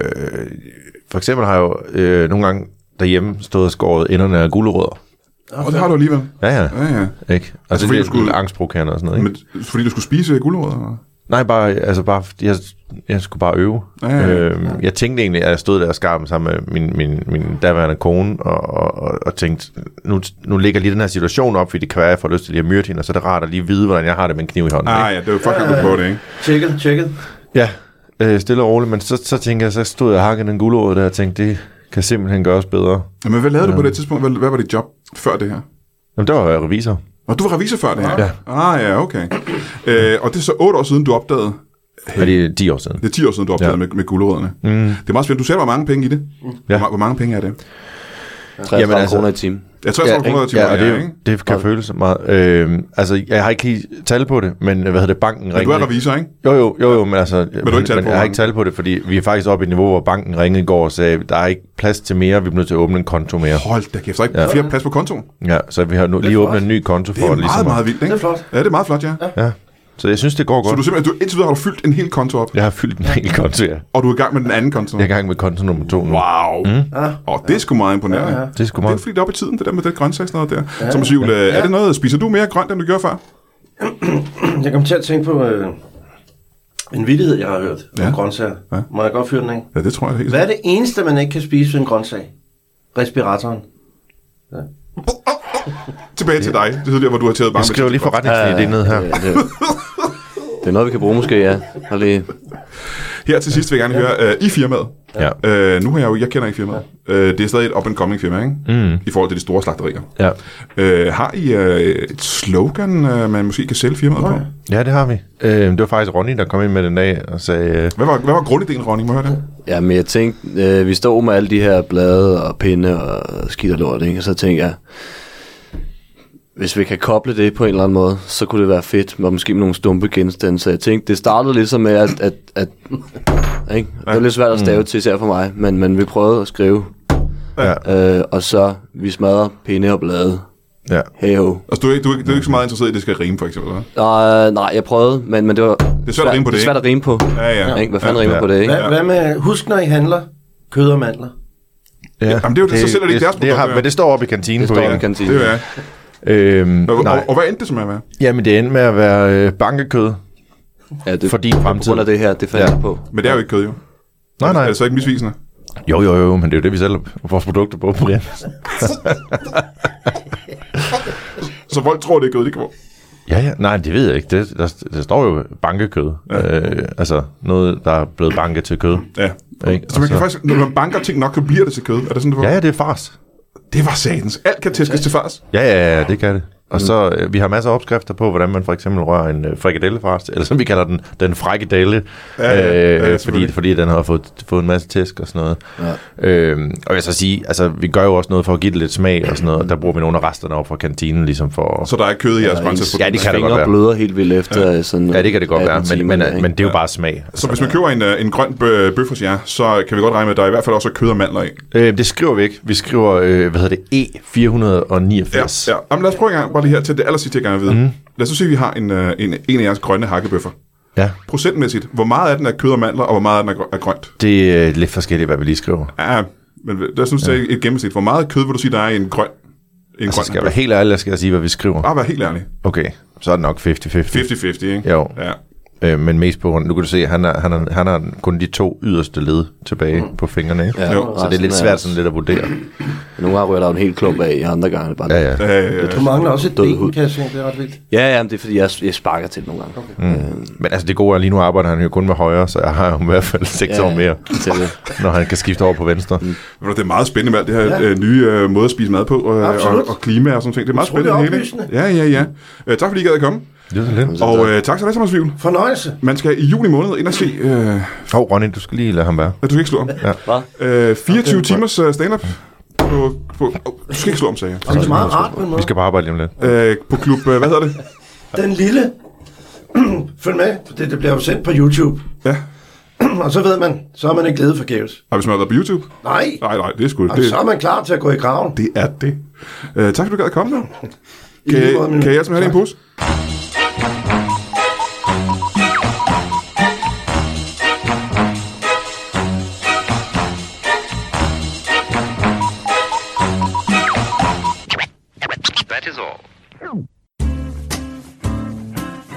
Speaker 3: for eksempel har jeg jo øh, nogle gange derhjemme stået og skåret enderne af gulerødder.
Speaker 1: Og det har du alligevel.
Speaker 3: Ja, ja.
Speaker 1: Ja, ja.
Speaker 3: Ikke? Altså, altså
Speaker 1: fordi du skulle-
Speaker 3: det er skulle... angstprovokerende og sådan noget, ikke?
Speaker 1: Men, fordi du skulle spise gulerødder? eller?
Speaker 3: Nej, bare, altså bare, fordi jeg, jeg skulle bare øve.
Speaker 1: Ja, ja, ja.
Speaker 3: Øhm, jeg tænkte egentlig, at jeg stod der og skar dem sammen med min, min, min daværende kone, og, og, og, og tænkte, nu, nu ligger lige den her situation op, fordi det kan være, at jeg får lyst til lige at myrde hende, og så er det rart at lige vide, hvordan jeg har det med en kniv i hånden.
Speaker 1: Ah, ja, det var fucking, at du prøvede det, ikke?
Speaker 2: Tjekket, tjekket.
Speaker 3: Ja, øh, stille og roligt, men så, så tænkte jeg, så stod jeg og hakkede den gulerod der og tænkte, det kan simpelthen gøres bedre.
Speaker 1: Men hvad lavede du på det tidspunkt? Hvad, hvad var dit job før det her?
Speaker 3: Jamen, der var jeg revisor.
Speaker 1: Og du var revisor før det her?
Speaker 3: Ja.
Speaker 1: Ah, ja, okay. Øh, og det er så 8 år siden, du opdagede,
Speaker 3: Hey. Er det 10 år siden?
Speaker 1: det er 10 år siden, du opdagede ja.
Speaker 3: Ja.
Speaker 1: med, med gulerødderne. Mm. Det er meget spændende. Du sagde, hvor mange penge i det. Ja. Hvor, hvor mange penge er det?
Speaker 4: 33 Jamen, altså,
Speaker 3: altså-
Speaker 4: kroner i timen.
Speaker 1: Jeg tror, jeg tror, kroner til
Speaker 3: ja, og
Speaker 1: ja,
Speaker 3: det,
Speaker 1: ikke?
Speaker 3: det kan føles så meget. Øh, altså, jeg har ikke lige tal på det, men hvad hedder det, banken
Speaker 1: Men du
Speaker 3: ringede.
Speaker 1: er revisor, ikke?
Speaker 3: Jo, jo, jo, jo, men altså, men,
Speaker 1: du har ikke tal
Speaker 3: men
Speaker 1: på,
Speaker 3: jeg
Speaker 1: hvordan?
Speaker 3: har ikke tal på det, fordi vi er faktisk oppe i et niveau, hvor banken ringede i går og sagde, der er ikke plads til mere, vi bliver nødt til at åbne en konto mere.
Speaker 1: Hold da kæft, der er ikke ja. flere plads på kontoen.
Speaker 3: Ja, så vi har nu lige åbnet en ny konto
Speaker 1: Det er
Speaker 3: for
Speaker 1: meget, ligesom
Speaker 3: at-
Speaker 1: meget vildt, ikke?
Speaker 2: Det er flot.
Speaker 1: Ja, det er meget flot, ja. ja.
Speaker 3: Ja, så jeg synes, det går
Speaker 1: Så
Speaker 3: godt.
Speaker 1: du simpelthen, du, indtil videre har du fyldt en hel konto op, ja.
Speaker 3: Jeg har fyldt en hel konto, ja.
Speaker 1: og du er i gang med den anden konto.
Speaker 3: Jeg er i gang med konto nummer to nu.
Speaker 1: Wow. Mm. Og det er sgu meget imponerende. Ja, ja.
Speaker 3: Det er sgu
Speaker 1: Det er
Speaker 3: meget.
Speaker 1: fordi, det er op i tiden, det der med det grøntsags noget der. Ja, Som Sivl, ja. er det noget, spiser du mere grønt, end du gjorde før?
Speaker 2: Jeg kom til at tænke på øh, en vittighed, jeg har hørt om
Speaker 1: Ja.
Speaker 2: grøntsager.
Speaker 1: Ja.
Speaker 2: Må jeg godt fyre den af?
Speaker 1: Ja, det tror jeg helt
Speaker 2: Hvad er det eneste, man ikke kan spise ved en grøntsag? Respiratoren.
Speaker 1: Tilbage til dig, det er der, hvor du har taget bare
Speaker 3: Jeg skriver lige forretningslinjen ned her.
Speaker 4: Ja, det, det er noget, vi kan bruge måske, ja. Og lige,
Speaker 1: Her til sidst vil jeg gerne høre, øh, i firmaet,
Speaker 3: Ja.
Speaker 1: øh, nu har jeg jo, jeg kender ikke firmaet, øh, det er stadig et up-and-coming firma, ikke? Mm. I forhold til de store slagterier.
Speaker 3: Ja.
Speaker 1: Øh, har I øh, et slogan, øh, man måske kan sælge firmaet på?
Speaker 3: ja, det har vi. Øh, det var faktisk Ronny, der kom ind med den dag og sagde, øh,
Speaker 1: Hvad var, hvad var grundideen, Ronny? Må jeg høre det?
Speaker 4: ja, men jeg tænkte, øh, vi står med alle de her blade og pinde og skidt og lort, ikke? Og så tænkte jeg, hvis vi kan koble det på en eller anden måde, så kunne det være fedt, og måske med nogle stumpe genstande. Så jeg tænkte, det startede ligesom med, at, at, at ikke? det var lidt svært at
Speaker 1: Mm.
Speaker 4: stave til, især for mig, men, men vi prøvede at skrive,
Speaker 3: ja,
Speaker 4: øh, og så vi smadrer pinde og blade.
Speaker 3: ja.
Speaker 4: Hey ho.
Speaker 1: Altså, du er, ikke- du, er, ikke- du er ikke så meget interesseret i, at det skal rime, for eksempel, eller?
Speaker 4: Nej, nej, jeg prøvede, men, men det var det
Speaker 1: at rime på det,
Speaker 4: svært at rime på.
Speaker 1: Ja, ja.
Speaker 4: Ikke? Hvad fanden rimer
Speaker 3: Ja.
Speaker 4: på det, ikke?
Speaker 2: Hvad, ja. hvad med, husk når I handler kød og mandler.
Speaker 1: Ja, jamen, det er jo det, så sælger de ikke deres
Speaker 3: det har,
Speaker 1: produkter,
Speaker 3: Men det står oppe i kantinen
Speaker 4: Det
Speaker 3: på
Speaker 4: står
Speaker 3: væggen.
Speaker 4: i kantinen.
Speaker 1: Det er
Speaker 3: Øhm,
Speaker 1: og, og,
Speaker 3: nej.
Speaker 1: og, hvad endte det som at være?
Speaker 3: Jamen, det endte med at være øh, bankekød.
Speaker 4: Ja, det,
Speaker 3: For din
Speaker 4: På
Speaker 3: fremtid.
Speaker 4: grund af det her, det fandt
Speaker 3: Ja.
Speaker 4: ja. jeg på.
Speaker 1: Men det er jo ikke kød, jo.
Speaker 3: Nej,
Speaker 1: Er
Speaker 3: nej.
Speaker 1: det så ikke misvisende?
Speaker 3: Jo, jo, jo, men det er jo det, vi sælger vores produkter på, Brian.
Speaker 1: Så folk tror, det er kød, det kan være.
Speaker 3: Ja, ja. Nej, det ved jeg ikke. Det, der, der står jo bankekød. Ja. Øh, altså, noget, der er blevet banket til kød.
Speaker 1: Ja.
Speaker 3: Ikke?
Speaker 1: Så man
Speaker 3: Og
Speaker 1: kan faktisk, når man banker ting nok, så bliver det til kød. Er det sådan, det var?
Speaker 3: Altså- Ja, ja, det er fars.
Speaker 1: Det var satans. Alt kan tæskes til fars.
Speaker 3: Ja, ja, ja, det kan det. Og så, øh, vi har masser af opskrifter på, hvordan man for eksempel rører en øh, frikadellefars, eller som vi kalder den, den frikadelle,
Speaker 1: Ja, ja, ja,
Speaker 3: øh, fordi,
Speaker 1: selvfølgelig.
Speaker 3: fordi den har fået, fået en masse tæsk og sådan noget. Ja. Øhm, og jeg vil så sige, altså, vi gør jo også noget for at give det lidt smag og sådan noget, og der bruger vi nogle af resterne op fra kantinen, ligesom for...
Speaker 1: Så der er ikke kød i jeres
Speaker 3: Ja,
Speaker 1: brændselsprodukter.
Speaker 3: det kan det
Speaker 4: Fingre
Speaker 3: godt være.
Speaker 4: bløder helt vildt efter ja. sådan...
Speaker 3: Ja, det kan det godt
Speaker 4: 18
Speaker 3: være, men,
Speaker 4: timer
Speaker 3: men,
Speaker 4: der, ikke?
Speaker 3: men det er jo bare smag.
Speaker 1: Så hvis man køber en, øh, en grøn bø- bøf hos jer, så kan vi godt regne med, at der er i hvert fald også kød og mandler i.
Speaker 3: Øh, det skriver vi ikke. Vi skriver, øh, hvad hedder det, E489.
Speaker 1: Ja, yes. ja. Jamen, lad os prøve en gang, bare lige her til det aller sidste, jeg gerne vil vide. Mm. Lad os nu sige, at vi har en, øh, en, en af jeres grønne hakkebøffer.
Speaker 3: ja.
Speaker 1: Procentmæssigt, hvor meget af den er kød og mandler, og hvor meget af den er, gr- er grønt?
Speaker 3: Det er øh, lidt forskelligt, hvad vi lige skriver.
Speaker 1: Ja, men der synes jeg ja. et gennemsnit. Hvor meget kød vil du sige, der er i en grøn? i En
Speaker 3: Så
Speaker 1: grøn
Speaker 3: Altså, skal jeg
Speaker 1: bøf?
Speaker 3: være helt ærlig, eller skal jeg sige, hvad vi skriver?
Speaker 1: Bare vær helt ærlig.
Speaker 3: Okay, så er det nok 50-50.
Speaker 1: 50-50, ikke?
Speaker 3: Jo.
Speaker 1: Ja.
Speaker 3: Øh, men mest på grund, nu kan du se, han har, han, har, han har kun de to yderste led tilbage mm. på fingrene, ikke?
Speaker 4: Ja,
Speaker 1: Jo,
Speaker 3: Så det er lidt svært sådan lidt at vurdere.
Speaker 4: øh, Nogle gange rører der jo en hel klump af, i andre gange er det bare...
Speaker 3: Ja, ja.
Speaker 1: Øh,
Speaker 2: Du mangler også et
Speaker 4: Død
Speaker 2: ben,
Speaker 4: hud.
Speaker 2: kan jeg se. Det er ret vildt.
Speaker 4: ja, ja men det er fordi, jeg, jeg sparker til det nogle gange. Okay.
Speaker 3: Men altså det gode er, lige nu arbejder han jo kun med højre, så jeg har jo i hvert fald seks
Speaker 4: Ja,
Speaker 3: år mere,
Speaker 4: til det.
Speaker 3: når han kan skifte over på venstre.
Speaker 1: Ved du, Det er meget spændende med alt det her ja. øh, nye øh, måde at spise mad på, øh, og,
Speaker 2: Absolut.
Speaker 1: og klima og sådan ting. Det er meget
Speaker 2: Utrolig
Speaker 1: spændende. det hele, ikke? Ja, ja, ja. Øh, tak fordi I gad at komme.
Speaker 3: Det er sådan lidt.
Speaker 1: Og øh, tak til dig, Thomas Vivl.
Speaker 2: Fornøjelse.
Speaker 1: Man skal i juni måned ind og se... Øh,
Speaker 3: Hov, Ronny, du skal lige lade ham være.
Speaker 1: du skal ikke slå om. Ja.
Speaker 4: Hvad?
Speaker 1: Øh, 24 timers øh, stand-up på, på... Oh, du skal ikke slå om, sagde jeg.
Speaker 2: Og det er meget rart på en
Speaker 3: Vi
Speaker 2: måde.
Speaker 3: skal bare arbejde lige om lidt.
Speaker 1: Øh, på klub... Øh, hvad hedder det?
Speaker 2: Den lille... Følg med, for det, det bliver jo sendt på YouTube.
Speaker 1: Ja.
Speaker 2: og så ved man, så er man ikke glæde forgæves.
Speaker 1: Og hvis man har været på YouTube?
Speaker 2: Nej,
Speaker 1: Nej, nej, det er sgu...
Speaker 2: og så
Speaker 1: Det,
Speaker 2: er man klar til at gå i graven.
Speaker 1: det er det. Øh, tak fordi du gad at komme nu.
Speaker 2: I
Speaker 1: Kan,
Speaker 2: lige måde, min-
Speaker 1: kan jeg som have det i en pose?